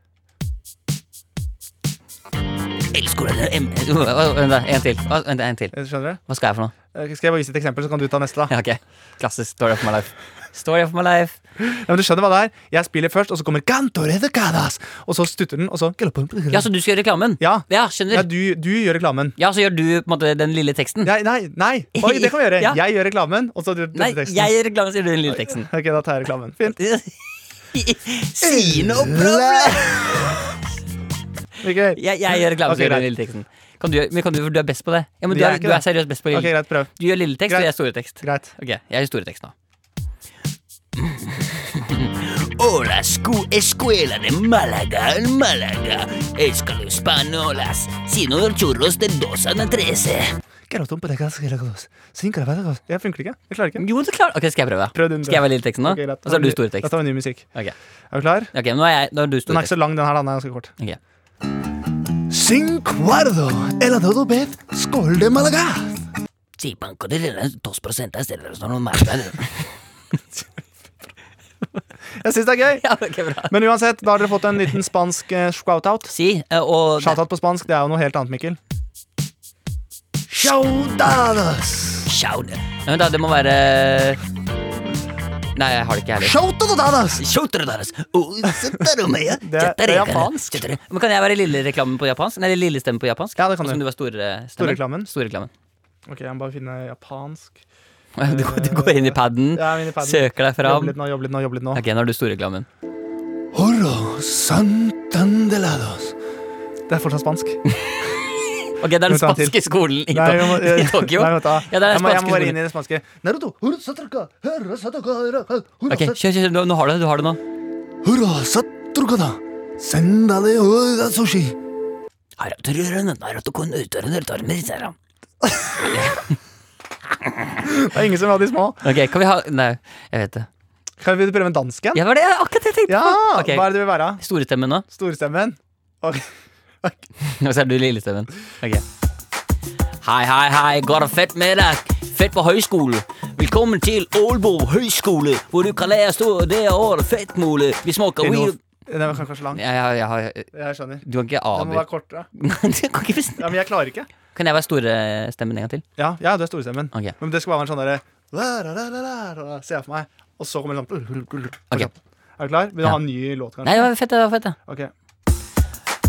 S3: Elskole En til. Hva- Vent, en til.
S2: Eh, Skjønner du?
S3: Hva skal jeg for noe?
S2: Eh, Skal jeg bare vise et eksempel, så kan du ta neste? da
S3: Ja, ok. Klassisk story of my life. Story of my life.
S2: ja, men Du skjønner hva det er? Jeg spiller først, og så kommer Cantore de Cadas, og så stutter den, og så
S3: Ja, så du skal gjøre reklamen?
S2: Ja.
S3: Ja, skjønner.
S2: Ja, du, du gjør reklamen.
S3: Ja, så gjør du på en måte den lille teksten?
S2: Nei, nei! nei Oi, det kan vi gjøre.
S3: Ja.
S2: Jeg gjør reklamen, og så du
S3: Nei,
S2: denne teksten.
S3: jeg gjør reklame, så gjør du den lille teksten.
S2: Ok, da tar jeg reklamen. Fint.
S3: si noe problem!
S2: Mikkel.
S3: Jeg, jeg gjør reklame,
S2: Ok,
S3: så gjør du
S2: greit.
S3: den lille teksten. Kan du, gjøre- men kan du, for du er best på det. Ja, men
S2: Jeg
S3: du
S2: er
S3: er,
S2: ikke
S3: du er
S2: det.
S3: seriøst best på
S2: Ok,
S3: lille.
S2: greit, prøv.
S3: Du gjør lille tekst,
S2: Greit.
S3: og jeg gjør store tekst.
S2: Greit.
S3: Ok, jeg gjør store tekst nå. Hola, scu escuela de Málaga en Málaga. Escuela españolas. Sino churros de 2 a eh. 13.
S2: Garotum på Decas, Garotos. Synker det, Garotos. Jeg funker ikke. Jeg klarer ikke.
S3: Jo, så klart. Ok, skal jeg prøve?
S2: Prøv den, du.
S3: Skal jeg være lille teksten nå?
S2: Ok, greit.
S3: Mm, og så er du store
S2: Da
S3: tekst.
S2: tar vi ny musikk.
S3: Ok,
S2: Er du klar?
S3: Ok, nå er, jeg, nå er du
S2: Den
S3: store
S2: er ikke
S3: tekst.
S2: så lang, den her. da. Den er ganske kort.
S3: Ok.
S2: Cinquardo, el adodo bed, skål de Malaga.
S3: Sí, banco de las dos procentas de los normales.
S2: Jeg syns det er gøy.
S3: ja, ok, bra.
S2: Men uansett, da har dere fått en liten spansk eh, shout-out.
S3: Si, eh, og
S2: Shout-out på spansk, det er jo noe helt annet, Mikkel. Shoutados.
S3: Shout. Nei, men da, det må være Nei, jeg har det ikke heller.
S2: Shoutadadas.
S3: Shoutere deres. Oh, setter du meg, ja?
S2: Det er- det er
S3: Setter jeg dere.
S2: japansk.
S3: Setter jeg- Men Kan jeg være lille reklamen på japansk? Nei, lille stemmen på japansk?
S2: Ja, det kan
S3: Og så
S2: du.
S3: må du. være store stemmen.
S2: Storreklamen.
S3: Storreklamen.
S2: Ok, jeg må bare finne japansk.
S3: Du, går- du går inn i paden,
S2: Jeg er inne i paden.
S3: søker deg
S2: Jobb
S3: fram.
S2: litt nå, jobb litt nå, jobb litt nå.
S3: Ok, nå er du storreklamen.
S2: Horro santandelados. Det er fortsatt spansk.
S3: Ok, det er den
S2: Vent, ta en til.
S3: spanske skolen i,
S2: Nei, vi må- eh,
S3: i Tokyo.
S2: Nei, vent da.
S3: Ja, det er
S2: jeg,
S3: den
S2: må, jeg
S3: spanske
S2: må bare inn
S3: skolen.
S2: i det spanske. Naruto, hurra, satruka, hurra, satruka, hurra, hurra,
S3: Ok, kjør, kjør, kjør. Nå, nå har du det. Du har det nå.
S2: Hurra, satruka da. Sendale, hurra, sushi. Det er ingen som vil ha de små.
S3: Ok, kan vi ha Nei, jeg vet det.
S2: Kan vi prøve en dansk en?
S3: Ja, det var det jeg akkurat jeg tenkte
S2: Ja,
S3: på.
S2: hva
S3: Ok,
S2: er det du vil være?
S3: Storestemmen nå,
S2: Storstemmen? Ok.
S3: og så er du lillestemmen. Ok Hei, hei, hei, går det fett med deg? Fett på høyskole. Velkommen til Ålbo høyskole, hvor du kan lære store deler og det fett mulig. Vi smaker
S2: Er det noe-
S3: weed
S2: Det var kanskje lang.
S3: jeg, jeg, jeg, jeg,
S2: Jeg skjønner.
S3: Du kan ikke
S2: Det må være
S3: avbryte.
S2: kortere.
S3: Du kan, ikke bestemme.
S2: Ja, men jeg klarer ikke.
S3: kan jeg være storestemmen en gang til?
S2: Ja, ja du er storestemmen.
S3: Ok.
S2: Men det skal bare være en sånn derre la, la, la, la, la, la, la, Ser jeg for meg. Og så kommer det sånn
S3: Ok.
S2: Er du klar? Vil du
S3: Ja.
S2: ha en ny låt, kanskje?
S3: Nei, det var fett. det var fett det.
S2: Ok.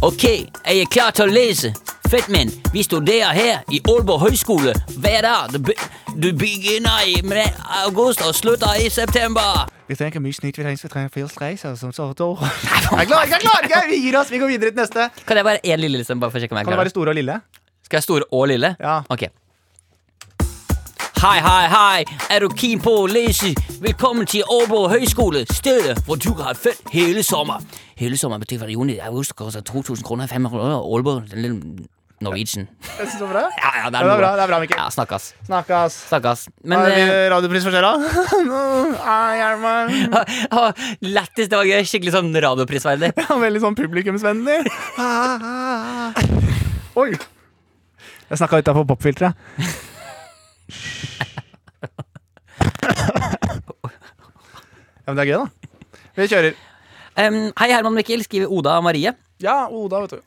S3: Ok, jeg er klar til å lese. Fett, men vi studerer her i Aalborg høgskole hver dag. Du, be du begynner i me- august og slutter i september.
S2: Vi trenger ikke mye snytt, vi trenger, vi trenger flere streiser som så Jeg klarer ikke, jeg klarer ikke! Vi gir oss, vi går videre til neste.
S3: Kan jeg bare én lille liksom, bare for å sjekke om jeg
S2: Kan det
S3: klarer
S2: være store og lille?
S3: Skal jeg store og lille?
S2: Ja.
S3: Ok. Hei, hei, hei, er du keen på å lese? Velkommen til Aalborg høgskole, stedet hvor du kan ha fett hele sommer. Hele sommer betyr fra juni til august, koster 2000 kroner, 500 kroner, Aalborg, den lille Norwegian.
S2: Jeg synes det var bra.
S3: Ja, ja,
S2: Ja, det er bra, det er bra, Mikkel.
S3: Ja, snakkes.
S2: Snakkes.
S3: Snakkes. Men
S2: Men
S3: eh,
S2: Radiopris forskjella? Nei, Hjelmen.
S3: eh, å, Lættis, det var gøy. Skikkelig sånn radioprisverdig.
S2: Ja, Veldig sånn publikumsvennlig. Ah, ah, ah. Oi. Jeg snakka utafor popfilteret. ja, men det er gøy, da. Vi kjører.
S3: Em, hei, Herman Mikkel, skriver Oda Marie.
S2: Ja, Oda, vet du.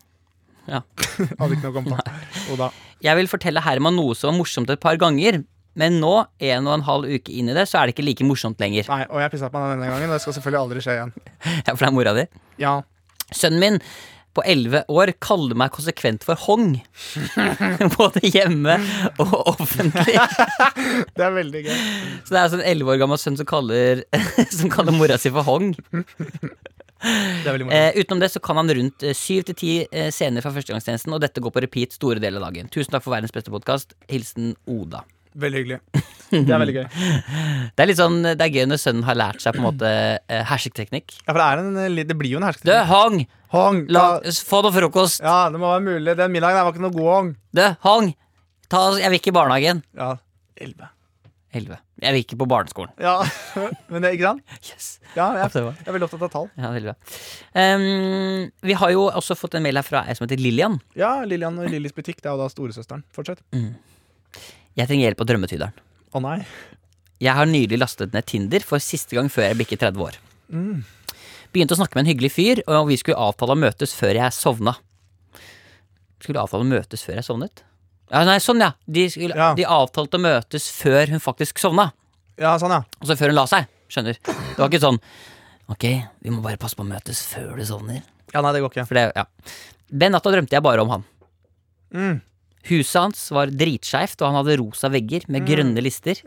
S3: Ja.
S2: Hadde ikke noe å komme på. Oda.
S3: Jeg vil fortelle Herman noe som var morsomt et par ganger, men nå, en og en halv uke inn i det, så er det ikke like morsomt lenger.
S2: Nei, og jeg pissa på meg denne gangen, og det skal selvfølgelig aldri skje igjen.
S3: Ja, for det er mora di.
S2: Ja.
S3: Sønnen min på 11 år kaller meg konsekvent for hong. Både hjemme og offentlig.
S2: Det er veldig gøy.
S3: Så det er altså en 11 år gammel sønn som kaller, som kaller mora si for hong.
S2: Det er veldig morsomt.
S3: Eh, utenom det så kan han rundt eh, syv til ti eh, scener fra førstegangstjenesten, og dette går på repeat store deler av dagen. Tusen takk for verdens beste podkast. Hilsen Oda.
S2: Veldig hyggelig. Det er veldig gøy.
S3: Det er litt sånn, det er gøy når sønnen har lært seg på en måte eh, hersketeknikk.
S2: Ja, for det, er en, eh, li- det blir jo en
S3: Du,
S2: hersketeknikk.
S3: hong!
S2: Hong,
S3: La,
S2: ta-
S3: få noe frokost!
S2: Ja, det må være mulig. Den middagen der var ikke noe god hong.
S3: Du, hong! Ta, oss- jeg vil ikke i barnehagen.
S2: Ja. Elleve.
S3: Elleve. Jeg vil ikke på barneskolen.
S2: Ja, men det, ikke sant?
S3: Yes.
S2: Ja, jeg,
S3: det var-
S2: jeg er veldig opptatt av tall.
S3: Ja, veldig bra. Ehm, vi har jo også fått en mail her fra ei som heter Lillian.
S2: Ja, Lillian og Lillys butikk, det er jo da storesøsteren. Fortsett.
S3: Mm. Jeg trenger hjelp av drømmetyderen.
S2: Å nei.
S3: Jeg har nylig lastet ned Tinder for siste gang før jeg bikket 30 år.
S2: Mm.
S3: Begynte å snakke med en hyggelig fyr, og vi skulle avtale å møtes før jeg sovna. Skulle avtale å møtes før jeg sovnet? Ja, nei, sånn, ja. De, skulle,
S2: Ja.
S3: de avtalte å møtes før hun faktisk sovna.
S2: Ja, sånn, ja.
S3: Altså før hun la seg. Skjønner. Det var ikke sånn Ok, vi må bare passe på å møtes før du sovner.
S2: Ja, nei, det går ikke.
S3: For det, ja. Den natta drømte jeg bare om han.
S2: Mm.
S3: Huset hans var dritskeivt, og han hadde rosa vegger med grønne lister.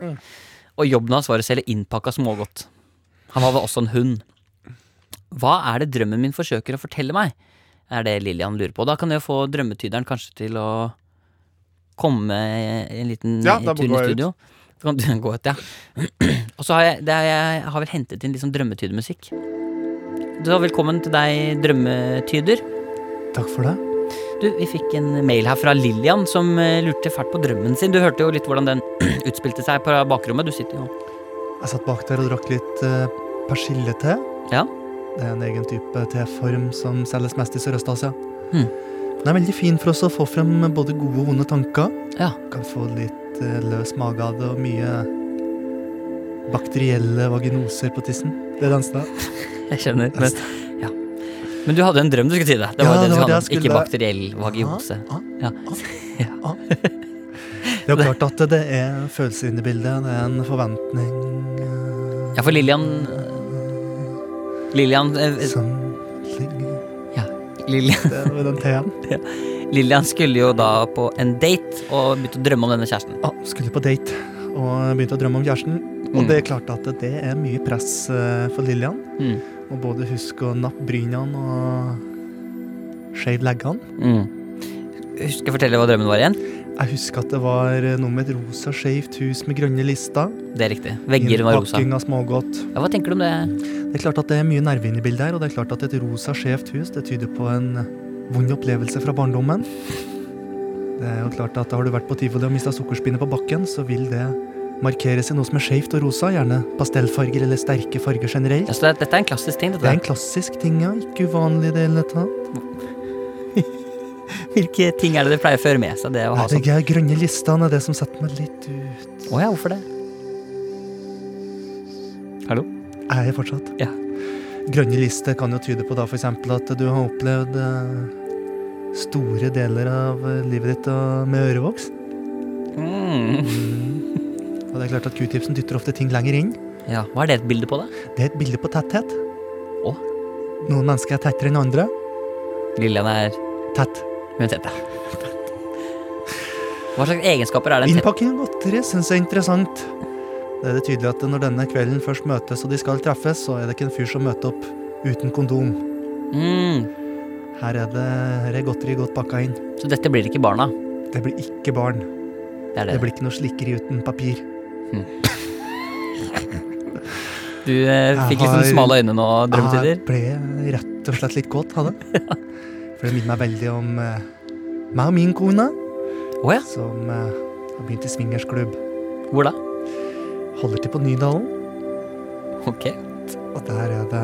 S3: Og jobben hans var å selge innpakka smågodt. Han hadde også en hund. Hva er det drømmen min forsøker å fortelle meg? Er det Lillian lurer på. Da kan jeg få drømmetyderen kanskje til å komme en liten
S2: Ja, da
S3: tur i
S2: går jeg ut.
S3: studio. Da kan du gå ut, ja. Og så har jeg, det er, jeg har vel hentet inn litt sånn drømmetydemusikk. Så velkommen til deg, drømmetyder.
S2: Takk for det.
S3: Du, vi fikk en mail her fra Lillian som eh, lurte fælt på drømmen sin. Du hørte jo litt hvordan den utspilte seg på bakrommet. Du sitter jo
S5: Jeg satt bak der og drakk litt eh, persillete.
S3: Ja.
S5: Det er en egen type teform som selges mest i Sørøst-Asia.
S3: Hmm.
S5: Den er veldig fin for oss å få frem både gode og vonde tanker.
S3: Ja.
S5: Kan få litt eh, løs mage av det og mye bakterielle vaginoser på tissen. Det er den stedet.
S3: Jeg skjønner. Men, ja. men du hadde en drøm du skulle si det. Det var
S5: Ja,
S3: jo den
S5: det var
S3: du
S5: det
S3: hadde.
S5: jeg
S3: Ikke
S5: skulle-
S3: bakteriell vagiose.
S5: Ah,
S3: Ja.
S5: Det er jo klart at det er følelser inne i bildet. Det er en forventning eh,
S3: ja, for Lillian Lillian, eh,
S5: som ligger
S3: Lillian,
S5: Det var den T-en.
S3: Lillian skulle jo da på en date og begynte å drømme om denne kjæresten.
S5: Ja, skulle på date og begynte å drømme om kjæresten. Og
S3: Mm.
S5: det er klart at det er mye press eh, for Lillian.
S3: Mm.
S5: Å både huske å nappe brynene og shave leggene.
S3: Mm. Skal jeg fortelle hva drømmen var igjen?
S5: Jeg husker at det var noe med et rosa skeivt hus med grønne lister.
S3: Det er riktig. Vegger var rosa.
S5: Innpakking av smågodt.
S3: Ja, hva tenker du om det?
S5: Det er klart at det er mye nerve inne i bildet her, og det er klart at et rosa skjevt hus det tyder på en vond opplevelse fra barndommen. Det er jo klart at Har du vært på tivoli og mista sukkerspinnet på bakken, så vil det markeres i noe som er skjevt og rosa, gjerne pastellfarger eller sterke farger generelt.
S3: Ja, så det, dette er en klassisk ting.
S5: Det er
S3: Dette.
S5: en klassisk ting, ja. Ikke uvanlig i det hele tatt.
S3: Hvilke ting er det dere pleier å føre med seg? Det å ha
S5: Nei,
S3: sånn?
S5: det er grønne listene er det som setter meg litt ut.
S3: Å ja, hvorfor det?
S5: Er jeg fortsatt?
S3: Ja.
S5: Grønne lister kan jo tyde på da f.eks. at du har opplevd eh, store deler av eh, livet ditt eh, med ørevoks.
S3: Mm.
S5: Og det er klart at q-tipsen dytter ofte ting lenger inn.
S3: Ja, Hva er det et bilde på, da?
S5: Det er et bilde på tetthet.
S3: Å?
S5: Noen mennesker er tettere enn andre.
S3: Lillian er
S5: Tett.
S3: med tette. Hva slags egenskaper er det en tette
S5: Innpakking av godteri syns jeg er interessant. Det er det tydelig at når denne kvelden først møtes og de skal treffes, så er det ikke en fyr som møter opp uten kondom.
S3: mm.
S5: Her er det, her er godteri godt pakka inn.
S3: Så dette blir ikke barna?
S5: Det blir ikke barn.
S3: Det er det.
S5: Det blir ikke noe slikkeri uten papir.
S3: Du eh,
S5: Jeg
S3: fikk litt sånn
S5: har-
S3: smale øyne nå, drømmetider.
S5: Jeg ble rett og slett litt kåt av det. For det minner meg veldig om eh, meg og min kone,
S3: Å ja,
S5: som eh, har begynt i swingersklubb.
S3: hvor da?
S5: Holder til på Nydalen,
S3: Ok,
S5: og der er det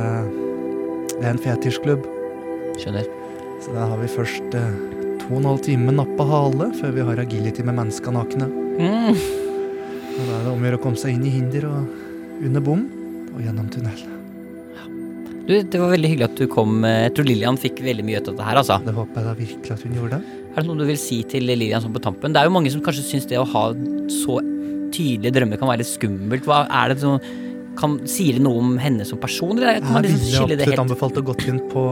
S5: Det er en fetisjklubb.
S3: skjønner.
S5: Så der har vi først eh, to og en halv time med nappa hale før vi har agility med menneska nakne.
S3: Mm.
S5: Og da er det om å gjøre å komme seg inn i hinder og under bom og gjennom tunnel.
S3: Du, det var veldig hyggelig at du kom. eh, Jeg tror Lillian fikk veldig mye ut av det her, altså.
S5: Det håper jeg da virkelig at hun gjorde.
S3: Er det noe du vil si til Lillian sånn på tampen? Det er jo mange som kanskje syns det å ha så tydelige drømmer kan være litt skummelt. Hva er det som kan, Sier det noe om henne som person, eller kan man
S5: Jeg
S3: liksom
S5: ville
S3: skille det
S5: absolutt
S3: helt?
S5: anbefalt å gå inn på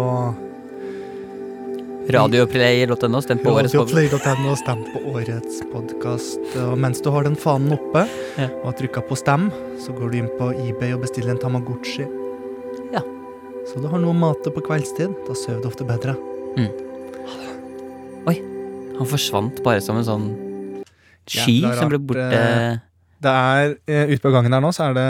S3: Radioplayer.no, stem på årets podd.
S5: Radioplay.no, stem på årets podkast. Og mens du har den fanen oppe
S3: Ja.
S5: og trykka på stem, så går du inn på eBay og bestiller en Tamagotchi.
S3: Ja.
S5: Så du har noe å mate på kveldstid. Da sover du ofte bedre.
S3: Han forsvant bare som en sånn sky
S2: Jævla
S3: som ble
S2: rart,
S3: borte
S2: eh, Det er, eh, Ute på gangen her nå så er det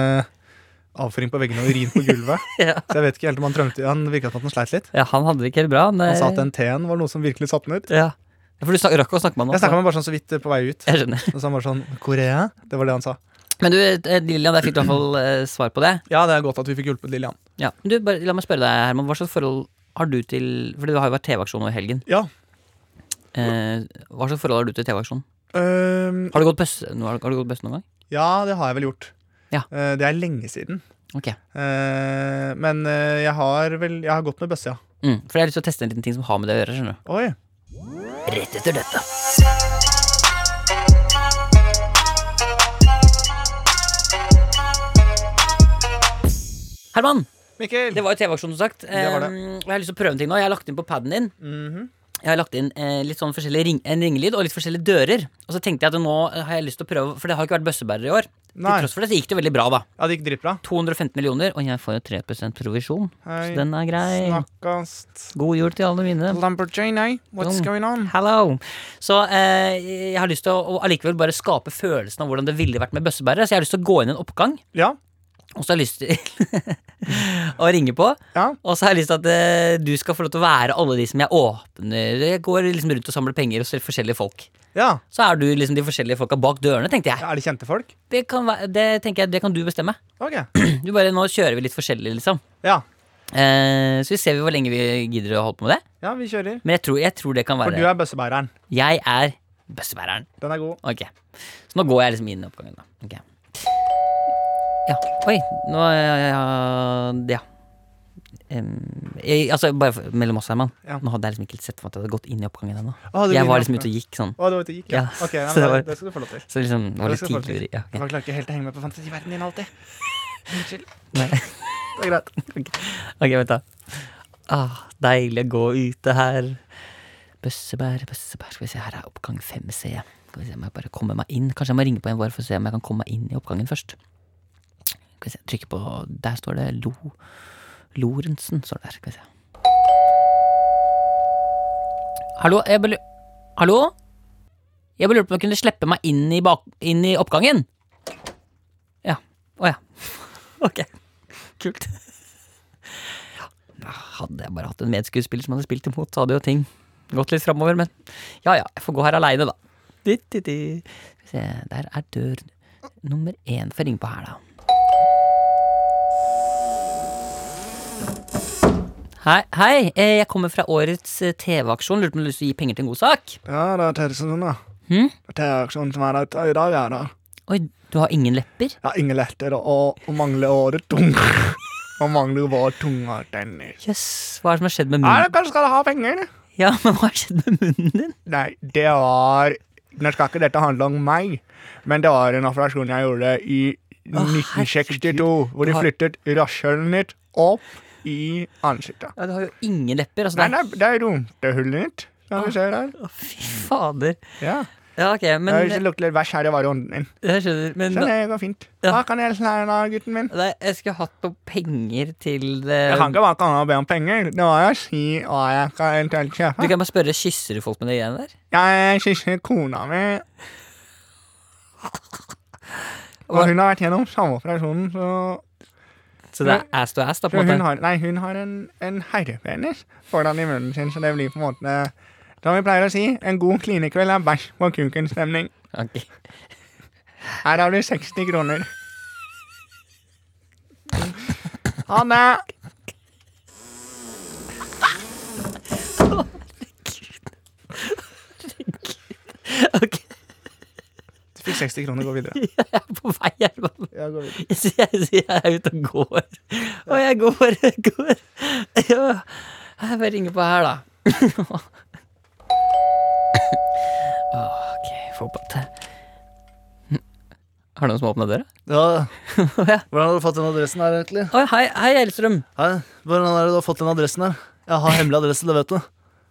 S2: avføring på veggene og urin på gulvet.
S3: ja.
S2: Så jeg vet ikke helt om han trømte Han virka som at han sleit litt.
S3: ja, han hadde det ikke helt bra. Han,
S2: Han sa at
S3: eh,
S2: den T-en var noe som virkelig satte han ut.
S3: ja. Ja, For du snak, rakk å snakke med han nå?
S2: Jeg snakka med ham bare sånn så vidt eh, på vei ut.
S3: så- Jeg skjønner.
S2: Og så han bare sånn
S5: Korea?
S2: Det var det han sa.
S3: Men du, eh, Lillian, der fikk du i hvert fall eh, svar på det.
S2: Ja, det er godt at vi fikk hjulpet Lillian.
S3: Ja. Men Du, bare, la meg spørre deg, Herman. Hva slags forhold har du til For det har jo vært TV-aksjon nå i helgen.
S2: Ja.
S3: Eh, hva slags forhold har du til TV-aksjonen?
S2: Øhm,
S3: Har du gått bøsse, nå- har du, har du gått bøsse noen gang?
S2: ja, det har jeg vel gjort.
S3: Ja.
S2: Eh, det er lenge siden.
S3: Ok.
S2: Eh, men eh, jeg har vel Jeg har gått med bøsse, ja.
S3: Mm, for jeg har lyst til å teste en liten ting som har med det å gjøre. skjønner du?
S2: Oi.
S3: Rett etter dette. Herman,
S2: Mikkel!
S3: det var jo TV-aksjon, som sagt.
S2: var det.
S3: Eh, og jeg har lyst til å prøve en ting nå. Jeg har lagt inn på paden din
S2: Mhm.
S3: Jeg har lagt inn eh, litt sånn forskjellig ring, en ringelyd og litt forskjellige dører. Og så tenkte jeg at nå eh, har jeg lyst til å prøve, for det har ikke vært bøssebærer i år.
S2: Nei.
S3: Til tross for det så gikk det jo veldig bra, da.
S2: Ja, det gikk dritbra.
S3: 215 millioner, og jeg får jo 3 provisjon.
S2: Hei.
S3: Så den er grei.
S2: Snakkast.
S3: God jul til alle mine.
S2: Lamborghini, what's
S3: Mm.
S2: going on?
S3: Hello. Så eh, jeg har lyst til å, å allikevel bare skape følelsen av hvordan det ville vært med bøssebærere. Så jeg har lyst til å gå inn i en oppgang,
S2: Ja.
S3: og så har jeg lyst til å ringe på.
S2: Ja.
S3: Og så har jeg lyst til at eh, du skal få lov til å være alle de som jeg åpner Jeg går liksom rundt og samler penger hos forskjellige folk.
S2: ja.
S3: Så er du liksom de forskjellige folka bak dørene, tenkte jeg.
S2: Er det kjente folk?
S3: Det kan, være- det, tenker jeg, det kan du bestemme.
S2: Ok.
S3: Du bare, Nå kjører vi litt forskjellig, liksom.
S2: Ja.
S3: Eh, så vi ser hvor lenge vi gidder å holde på med det.
S2: ja, vi kjører.
S3: Men jeg tror, jeg tror det kan
S2: For
S3: være
S2: du er bøssebæreren.
S3: Jeg er bøssebæreren.
S2: Den er god.
S3: Ok. Så nå går jeg liksom inn i oppgangen, da. Ok. Ja. Oi. Nå Ja. ja. Em, jeg, altså, bare for- mellom oss, Herman.
S2: Ja.
S3: Nå hadde jeg liksom ikke helt sett for meg at jeg hadde gått inn i oppgangen ennå.
S2: Å, du
S3: Jeg
S2: begynner
S3: var
S2: å
S3: liksom
S2: åpne.
S3: ute og gikk sånn.
S2: Å, det var ute og gikk, ja.
S3: Ja,
S2: Ok, nei,
S3: så
S2: men
S3: det var-
S2: det, det skal du få lov til.
S3: Så liksom, det var
S2: Det
S3: litt
S2: skal du få
S3: tidligere.
S2: lov til.
S3: Ja, ok.
S2: Jeg klarer ikke helt å henge med på fantasiverdenen din alltid. Unnskyld.
S3: Nei.
S2: Det er greit.
S3: Ok, vent da. Ah, deilig å gå ute her. Bøssebær, bøssebær. Skal vi se, her er oppgang 5C. Skal vi se om jeg bare kommer meg inn. Kanskje jeg må ringe på en vår for å se om jeg kan komme meg inn i oppgangen først. Skal vi se, trykke på Der står det Lo... Lorentzen står det der. Skal vi se. Hallo, jeg bare Hallo? Jeg bare lurte på om jeg kunne slippe meg inn i, bak, inn i oppgangen. Ja. Å ja. ok. Kult. Hadde jeg bare hatt en medskuespiller som hadde spilt imot, så hadde jo ting gått litt framover, men ja ja, jeg får gå her aleine, da. Di, di, di. Skal vi se, der er dør nummer én. Får jeg ringe på her, da. Hei, hei, eh, jeg kommer fra årets eh, TV-aksjon. Lurte på om du har lyst til å gi penger til en god sak?
S2: Ja, det er Tersen, da.
S3: Hm?
S2: Det er aksjonen som er der i dag, ja da.
S3: Oi, du har ingen lepper?
S2: Ja, ingen letter og, og mangler året tung. Man mangler bare tunga, Dennis.
S3: Jøss, hva er det som har skjedd med
S2: Nei,
S3: munnen?
S2: da kanskje skal du ha penger?
S3: Ja, men hva har skjedd med munnen din?
S2: Nei, det var Nå skal ikke dette handle om meg, men det var en operasjon jeg gjorde i
S3: Å,
S2: 1962, hvor de
S3: Har-
S2: flyttet rasshølet mitt opp i ansiktet.
S3: Ja, Du har jo ingen lepper. altså
S2: Nei,
S3: det
S2: det er, det er rumpehullet mitt, som du ser der.
S3: er- Å, Fy fader.
S2: Ja.
S3: Ja, ok, men
S2: Men, det lukter litt bæsj her, det var i ånden min.
S3: Jeg skjønner. Men
S2: Så det går fint.
S3: Ja.
S2: Hva kan jeg lære deg, gutten min?
S3: Nei, jeg skulle hatt noe penger til det.
S2: Jeg kan ikke bare komme og be om penger. Det var jo å si hva jeg kan eventuelt
S3: Du
S2: kjøpe.
S3: kan bare spørre kysser du folk med de greiene der.
S2: Jeg kysser kona mi. Og
S3: Hva-
S2: hun har vært gjennom samme operasjonen, så
S3: Så det er ass to ass, da? på
S2: så
S3: en
S2: hun
S3: måte
S2: har, nei, hun har en, en herrepenis foran i munnen sin, så det blir på en måte Som vi pleier å si, en god klinekveld er bæsj på kuken-stemning.
S3: Ok.
S2: Her har du 60 kroner. Ha det!
S3: Ok,
S2: Du fikk 60 kroner, gå videre.
S3: Jeg er på vei her. bare-
S2: Ja, gå videre.
S3: Jeg sier jeg, sier jeg er ute og går. Og jeg går, jeg går. Ja, Jeg bare ringer på her, da. OK, få på det. Har du noen som har åpna døra?
S5: Ja,
S3: Ja.
S5: Hvordan har du fått den adressen her, egentlig?
S3: Oi, hei, hei, Elstrøm.
S5: Hæ? Hvordan er det du har fått den adressen her? Jeg har hemmelig adresse, det vet du.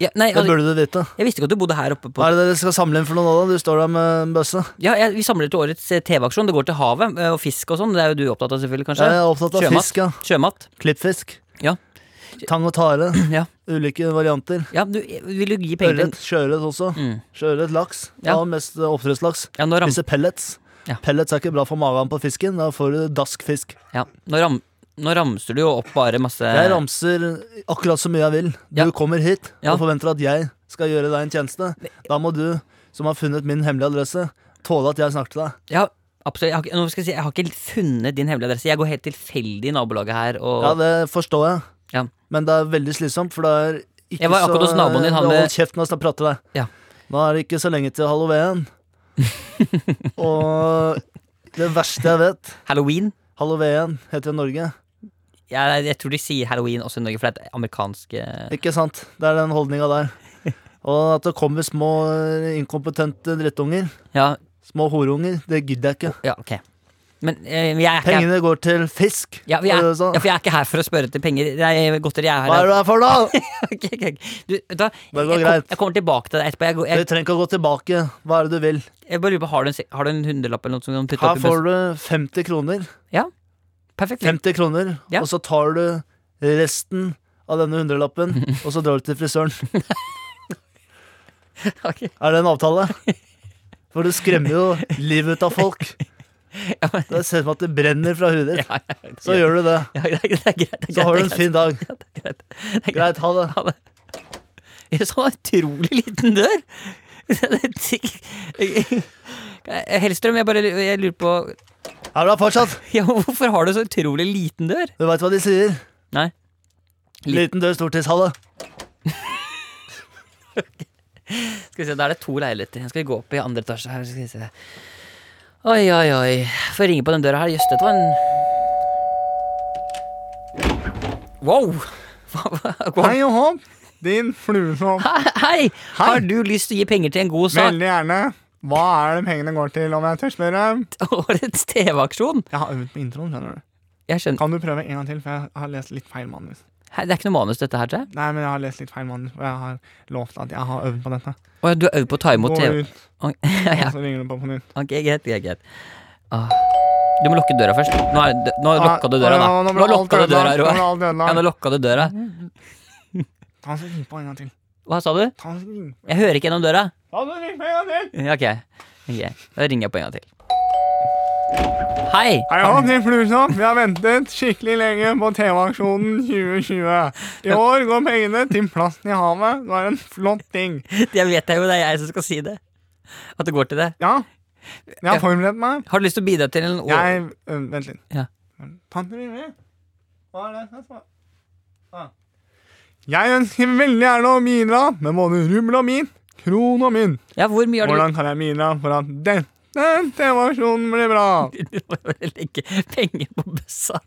S3: Ja, nei,
S5: Det
S3: jeg,
S5: burde du vite.
S3: jeg visste ikke at du bodde her oppe på
S5: Hva er det dere skal samle inn for noe nå, da? Du står der med en bøsse.
S3: Ja, jeg, Vi samler til årets eh, TV-aksjon. Det går til havet eh, og fisk og sånn. Det er jo du opptatt av, selvfølgelig, kanskje?
S5: Jeg er opptatt av
S3: Sjømat.
S5: fisk, ja.
S3: Sjømat.
S5: Klippfisk.
S3: Ja.
S5: Tang og tare.
S3: Ja.
S5: Ulike varianter.
S3: ja, du eh, vil du gi penger til
S5: Ørret, sjøørret også.
S3: Mm.
S5: Sjøørret, laks.
S3: Ja.
S5: Ja, mest eh, oppdrettslaks.
S3: Ja, nå, ram,
S5: Spise pellets.
S3: Ja.
S5: Pellets er ikke bra for magen på fisken. Da får du daskfisk.
S3: ja, nå, ram, nå ramser du jo opp bare masse
S5: Jeg ramser akkurat så mye jeg vil. Du
S3: Eh. Ja.
S5: kommer hit
S3: Ja.
S5: og forventer at jeg skal gjøre deg en tjeneste. Da må du, som har funnet min hemmelige adresse, tåle at jeg snakker til deg.
S3: Ja, absolutt. Jeg har, ikke- nå skal jeg, si, jeg har ikke funnet din hemmelige adresse. Jeg går helt tilfeldig i nabolaget her. Og,
S5: Ja, det forstår jeg.
S3: Ja.
S5: Men det er veldig slitsomt, for det er ikke
S3: Jeg var akkurat
S5: så
S3: hos naboen din, han
S5: Hold
S3: med-
S5: kjeft når jeg prater til deg.
S3: Ja.
S5: Nå er det ikke så lenge til halloween. Og det verste jeg vet
S3: Halloween.
S5: Halloween heter jo Norge.
S3: Jeg, jeg tror de sier halloween også i Norge, for det er et amerikansk eh,
S5: Ikke sant? Det er den holdninga der. Og at det kommer små eh, inkompetente drittunger.
S3: Ja,
S5: Små horunger. Det gidder jeg ikke.
S3: ja ok. Men eh, jeg er ikke her-
S5: Pengene går til fisk.
S3: ja, vi
S5: Var
S3: er,
S5: det det du sa?
S3: ja, for jeg er ikke her for å spørre etter penger. Nei, godteri. Jeg er her
S5: Hva er du her for, da?
S3: Ok, ok, ok. Du, vet du hva?
S5: Det går
S3: jeg,
S5: greit.
S3: kom, jeg kommer tilbake til deg etterpå. Jeg, går-
S5: Du
S3: jeg,
S5: trenger ikke å gå tilbake. Hva er det du vil?
S3: jeg bare lurer på, Har du en, se- har du en hundrelapp eller noe som du kan putte
S5: Her
S3: opp i
S5: får
S3: bussen?
S5: du 50 kroner.
S3: Perfekt.
S5: 50 kroner,
S3: Ja.
S5: og så tar du resten av denne hundrelappen, og så drar du til frisøren.
S3: Ok.
S5: Er det en avtale? For du skremmer jo livet ut av folk.
S3: men-
S5: Det ser ut som at det brenner fra huet ditt.
S3: Ja, ja, ja.
S5: Så gjør du det.
S3: Ja, det er greit. det er greit, det er
S5: Så har du en
S3: greit,
S5: fin dag.
S3: det er greit, det er greit.
S5: Greit, ha det.
S3: Ha det. Jeg så en utrolig liten dør. Hellstrøm, jeg bare jeg lurer på
S5: Er du her fortsatt?
S3: ja, Hvorfor har du så utrolig liten dør?
S5: Du veit hva de sier.
S3: Nei.
S5: Liten dør, stor tiss. Ha det.
S3: Skal vi se, Da er det to leiligheter. Jeg skal gå opp i andre etasje her. Skal vi se. Oi, oi, oi. Får jeg ringe på den døra her. Jøss, dette var en Wow! Hva- hva- hva-
S2: Hei og hopp, din fluesopp.
S3: Hei, hei! Har du lyst til å gi penger til en god sak?
S2: Veldig gjerne. Hva er det pengene går til, om jeg tør spørre?
S3: Årets TV-aksjon?
S2: Jeg har øvd på introen, skjønner du.
S3: Jeg skjønner
S2: Kan du prøve en gang til, for jeg har lest litt feil manus.
S3: Hei, Det er ikke noe manus, dette her, tror jeg.
S2: Nei, men jeg har lest litt feil manus, og jeg har lovt at jeg har øvd på dette.
S3: Å, ja, du har øvd på å ta imot
S2: Gå
S3: TV?
S2: ut,
S3: Oi, ja,
S2: og
S3: ja.
S2: så ringer du på på nytt.
S3: Ok, greit, greit, greit. Åh. Du må lukke døra først. Nå, er, det- nå lukka du døra,
S2: Ah, ja,
S3: da. Nå
S2: ble alt
S3: lukka du døra,
S2: ødelagt, nå ble
S3: Roar.
S2: alt Mm.
S3: Ja, nå
S2: ødelagt.
S3: lukka du døra.
S2: Ta oss og ring på en gang til.
S3: Hva sa du?
S2: Ta oss og ring.
S3: Jeg hører ikke gjennom døra.
S2: Ta oss og ring på en gang til.
S3: Ja, Ok, ok Da ringer jeg på en gang til. Hei!
S2: Hei og hopp, din fluesopp. sånn. Vi har ventet skikkelig lenge på TV-aksjonen 2020. I år går pengene til plasten i havet. Det var en flott ting.
S3: Jeg vet jo det er jeg som skal si det. At det går til det.
S2: Ja, jeg har forberedt meg.
S3: Har du lyst til å bidra til en
S2: Jeg øh, Vent litt.
S3: Ja.
S2: Tante Mimi, hva er det som er svar- ah. Jeg ønsker veldig gjerne å bidra med både rubbel og min, kron og mynt.
S3: Ja, hvor mye har
S2: Hvordan kan jeg bidra for at den, den TV-aksjonen blir bra?
S3: du Du må jo legge penger på bøssa.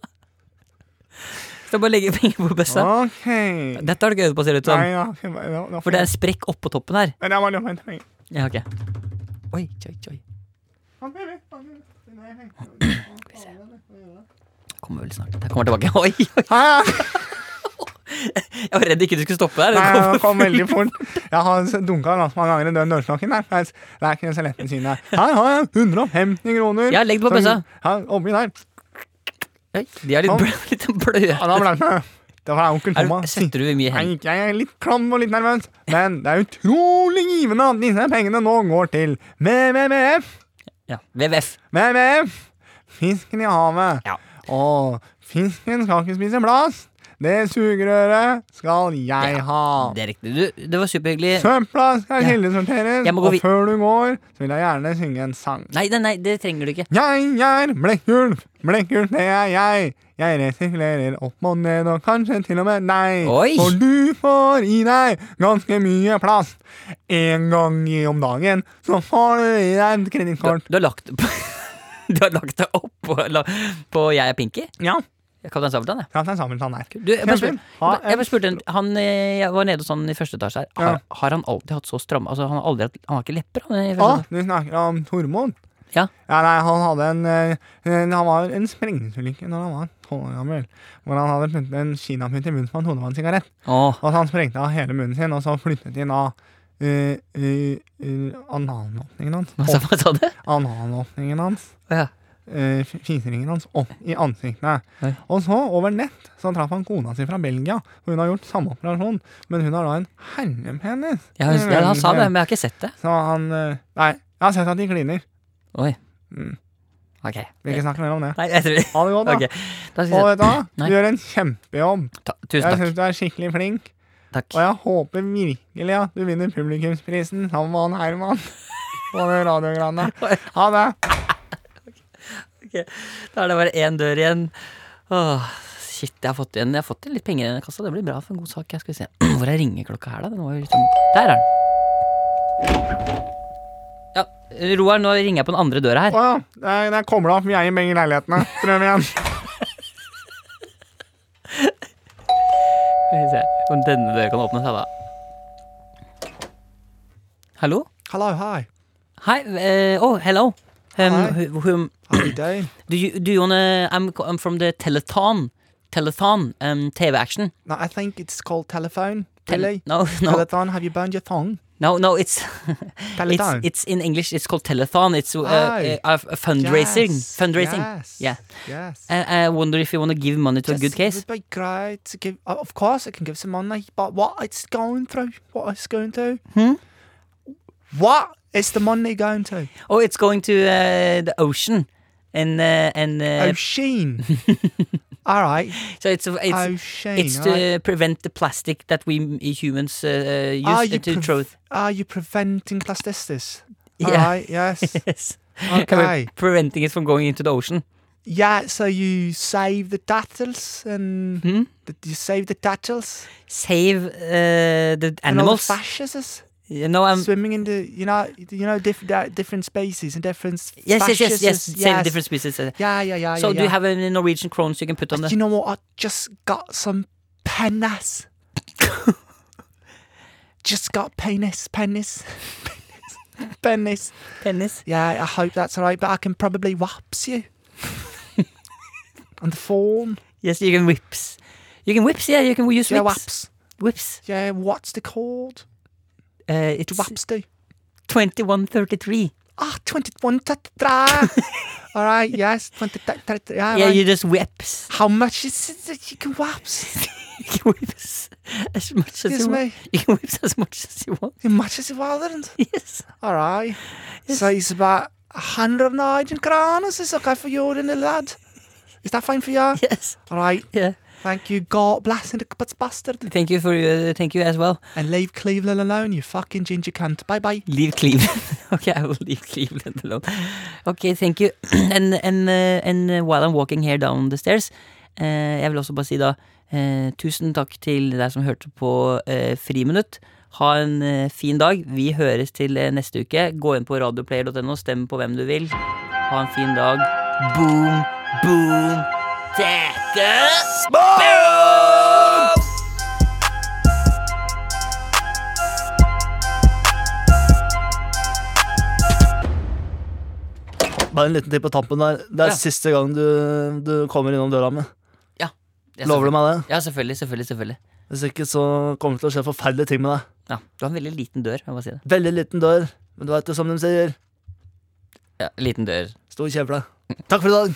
S3: Så bare legge penger på bøssa.
S2: Ok.
S3: Dette har du ikke øvd på, ser det ut som.
S2: Nei, ja, ok, men da- da får
S3: sånn- For det er
S2: jeg-
S3: en sprekk oppå toppen her.
S2: Men jeg må løpe en trening.
S3: Ja, ok. Oi, oi, oi. Det kommer vel snart. Det kommer tilbake. Oi, oi.
S2: Hei, hei.
S3: Jeg var redd ikke du skulle stoppe der. Det
S2: Nei,
S3: kommer-
S2: det kom veldig fort. Jeg har dunka mange ganger i den dørstokken her. for jeg- Det er ikke så lett ved siden her. Her har jeg 150 kroner.
S3: Ja, legg det på
S2: Så-
S3: bøssa.
S2: Ja, Oppi der.
S3: Oi, de er litt,
S2: Kom.
S3: blø, litt bløte.
S2: Ja, da ble det- Det var onkel
S3: Er du-
S2: Thomas.
S3: Svetter du mye hen?
S2: Jeg, jeg er litt klam og litt nervøs, men det er utrolig givende at disse pengene nå går til WWF.
S3: Ja. WWF.
S2: WWF. Fisken i havet.
S3: Ja.
S2: Og fisken skal ikke spise blast. Det sugerøret skal jeg ha.
S3: Det er riktig. Du, det var superhyggelig.
S2: Søpla skal
S3: Ja.
S2: kildesorteres,
S3: Jeg må gå
S2: og
S3: vid-
S2: før du går, så vil jeg gjerne synge en sang.
S3: Nei, nei, nei, det trenger du ikke.
S2: Jeg er Blekkulf, Blekkulf det er jeg. Jeg resirkulerer opp og ned, og kanskje til og med deg.
S3: Oi.
S2: For du får i deg ganske mye plast. En gang i om dagen, så får du i deg et
S3: Du,
S2: kredittkort.
S3: du har lagt Du har lagt det opp på, la- på Jeg er Pinky?
S2: Ja,
S3: Kaptein Sabeltann, ja.
S2: Kaptein Sabeltann her.
S3: Du, jeg bare spurte, jeg
S2: Ha
S3: bare, jeg
S2: en-
S3: bare spurte en, han, eh, jeg var nede hos han i første etasje her. Har, har han alltid hatt så stramme altså, han, har aldri, hatt- han har ikke lepper, han? I
S2: Å,
S3: første etasje.
S2: du snakker om Tormod?
S3: Ah. Ja.
S2: nei, han hadde en eh, Han var en sprengningsulykke når han var tolv år gammel. Hvor han hadde puttet en kinaputt i munnen som han trodde var en sigarett.
S3: Åh,
S2: Og at han sprengte av hele munnen sin, og så flyttet de da eh, eh, eh, analåpningen hans.
S3: hva, sa, hva sa du?
S2: opp- Analåpningen hans.
S3: Ja.
S2: eh, fi- Fiseringen hans opp i ansiktene.
S3: Oi.
S2: Og så, over nett, så traff han kona si fra Belgia. Og hun har gjort samme operasjon, men hun har da en herrepenis.
S3: Ja, han, ja, han sa det, men jeg har ikke sett det.
S2: Så han eh, Nei, jeg har sett at de kliner.
S3: Oi.
S2: Mm.
S3: Ok.
S2: Vi ikke snakke mer om det.
S3: Nei, jeg tror
S2: Ha det godt, da.
S3: Ok. Da
S2: Og
S3: skal jeg,
S2: vet du hva?
S3: Nei.
S2: Du gjør en kjempejobb.
S3: ta,
S2: Jeg
S3: tusen takk.
S2: syns du er skikkelig flink,
S3: takk.
S2: og jeg håper virkelig at du vinner publikumsprisen sammen med han Herman. På det radiogreiene. Ha det.
S3: Da er det bare én dør igjen. Åh, shit, jeg har fått igjen Jeg har fått inn litt penger i denne kassa. Det blir bra for en god sak. Jeg skal se hvor er ringeklokka her, da. Den var jo liksom Der er den. Ja, Roar, nå ringer jeg på den andre døra her.
S2: Å ja. Det er- det er kobla opp. Vi er i begge leilighetene. Prøv igjen.
S3: Skal vi se om denne døra kan åpne seg, da. Hallo?
S2: Hello, hi.
S3: Hi. eh, oh, hello. Um,
S2: Hi.
S3: who- whom-
S2: How you doing?
S3: do you, do you wanna I'm, co- I'm from the Telethon. Telethon. Um, TV Action.
S2: No, I think it's called telephone.
S3: Tel-
S2: Really?
S3: No, no,
S2: Telethon, have you burned your tongue?
S3: no, no, it's
S2: Telethon.
S3: It's, it's in English. It's called telethon. It's uh,
S2: Aye.
S3: uh, a fundraising.
S2: Yes,
S3: Fundraising.
S2: Yes.
S3: Yeah.
S2: Yes.
S3: I, I wonder if you want to give money to
S2: Yes,
S3: a good case.
S2: It would be great to give. uh, Of course, I can give some money, but what it's going through, what it's going to.
S3: Hmm?
S2: What is the money going to?
S3: Oh, it's going to uh, the ocean, and uh, and uh,
S2: Ocean. All right.
S3: so it's it's
S2: Ocean.
S3: it's
S2: all right.
S3: to prevent the plastic that we m- humans uh, use
S2: Are you
S3: to
S2: prev-
S3: throw.
S2: Are you preventing plasticis? All right.
S3: Yeah.
S2: Yes.
S3: Yes.
S2: Okay.
S3: Preventing it from going into the ocean.
S2: yeah. So you save the turtles and
S3: Hmm?
S2: th- you save the turtles
S3: Save uh, the
S2: and all the
S3: animals. Um,
S2: fascists
S3: You know, I'm.
S2: swimming in the you know you know diff- di- different species and different s-
S3: Yes, yes, yes, yes.
S2: fascists,
S3: Save different species. uh,
S2: Yeah, yeah, yeah.
S3: So,
S2: yeah,
S3: do you
S2: yeah.
S3: have any Norwegian crones you can put on
S2: Do
S3: the?
S2: you know what? I just got some penis. just got penis, penis, penis, penis.
S3: Penis.
S2: Yeah, I hope that's all right, but I can probably whaps you. and the form.
S3: Yes, you can whips. You can whips, yeah, you can use
S2: Yeah,
S3: whips.
S2: whaps.
S3: Whips.
S2: Yeah, what's the called?
S3: Uh, it's
S2: Whaps do.
S3: 2133.
S2: Ah, 21 tetra. all right, yes, 20 tetra. Yeah,
S3: Yeah,
S2: right.
S3: you just whips.
S2: How much is it that you can whaps?
S3: you can whips as much as
S2: Excuse
S3: you want.
S2: me.
S3: You can whips as much as you want.
S2: As much as you want.
S3: Yes.
S2: All right. So it's about 119 kronas. Is okay for you, then, lad? Is that fine for you?
S3: Yes.
S2: All right.
S3: Yeah.
S2: Thank you. God bless and but bastard.
S3: Thank you for uh, thank you as well.
S2: And leave Cleveland alone, you fucking ginger cunt. Bye bye.
S3: Leave Cleveland. okay, I will leave Cleveland alone. Okay, thank you. eh, and and uh, and uh, while I'm walking here down the stairs, uh, jeg Eh, vil også bare si da Eh, tusen takk til deg som hørte på eh, Friminutt. Ha en eh, fin dag. Vi høres til eh, neste uke. Gå inn på radioplayer.no, stem på hvem du vil. Ha en fin dag. Boom, boom, tekkes! Boom!
S5: Bare en liten ting på tampen der.
S3: Ja.
S5: Det er siste gang du, du kommer innom døra mi.
S3: Ja,
S5: Lover du meg det?
S3: Ja, selvfølgelig, selvfølgelig, selvfølgelig.
S5: Hvis ikke så kommer det til å skje forferdelige ting med deg.
S3: Ja, du har en veldig liten dør. Jeg må bare si det.
S5: Veldig liten dør, men du veit jo som de sier.
S3: Ja, liten dør.
S5: Stor kjevle. Takk for i dag.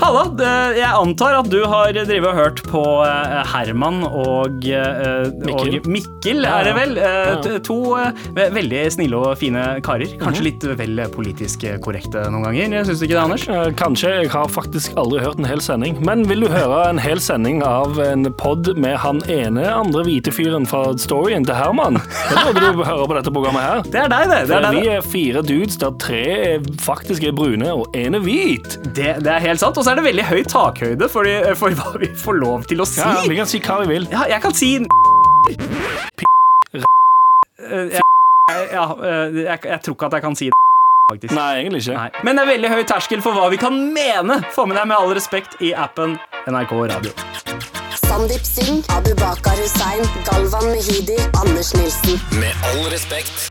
S6: Halla, det- jeg antar at du har drevet og hørt på eh, Herman og, eh,
S7: Mikkel.
S6: og Mikkel,
S7: Ja,
S6: er det
S7: ja.
S6: vel? Eh,
S7: Ja, ja.
S6: t- To eh, ve- veldig snille og fine karer.
S7: Mhm.
S6: Kanskje litt vel politisk korrekte noen ganger, syns du ikke det, Anders?
S7: Eh, Kanskje. Jeg har faktisk aldri hørt en hel sending. Men vil du høre en hel sending av en pod med han ene andre hvite fyren fra storyen til Herman? Da burde du høre på dette programmet her. Eh,
S6: Det er deg, det. Det er, deg,
S7: vi
S6: det.
S7: er fire dudes der tre er- faktisk er brune og én er hvit.
S6: Det, det er helt sant. Og så er det veldig høy takhøyde for, de- for hva vi får lov til å si.
S7: Ja, Vi kan si hva vi vil.
S6: Ja, jeg kan si n- Eh, jeg- Ja, eh, jeg, jeg tror ikke at jeg kan si det, faktisk.
S7: Nei, egentlig ikke.
S6: Nei. Men det er veldig høy terskel for hva vi kan mene. Få med deg med all respekt i appen NRK Radio.
S8: Sandeep Singh, Abubakar Hussein, Galvan Mehidi, Anders Nilsen.
S9: Med all respekt.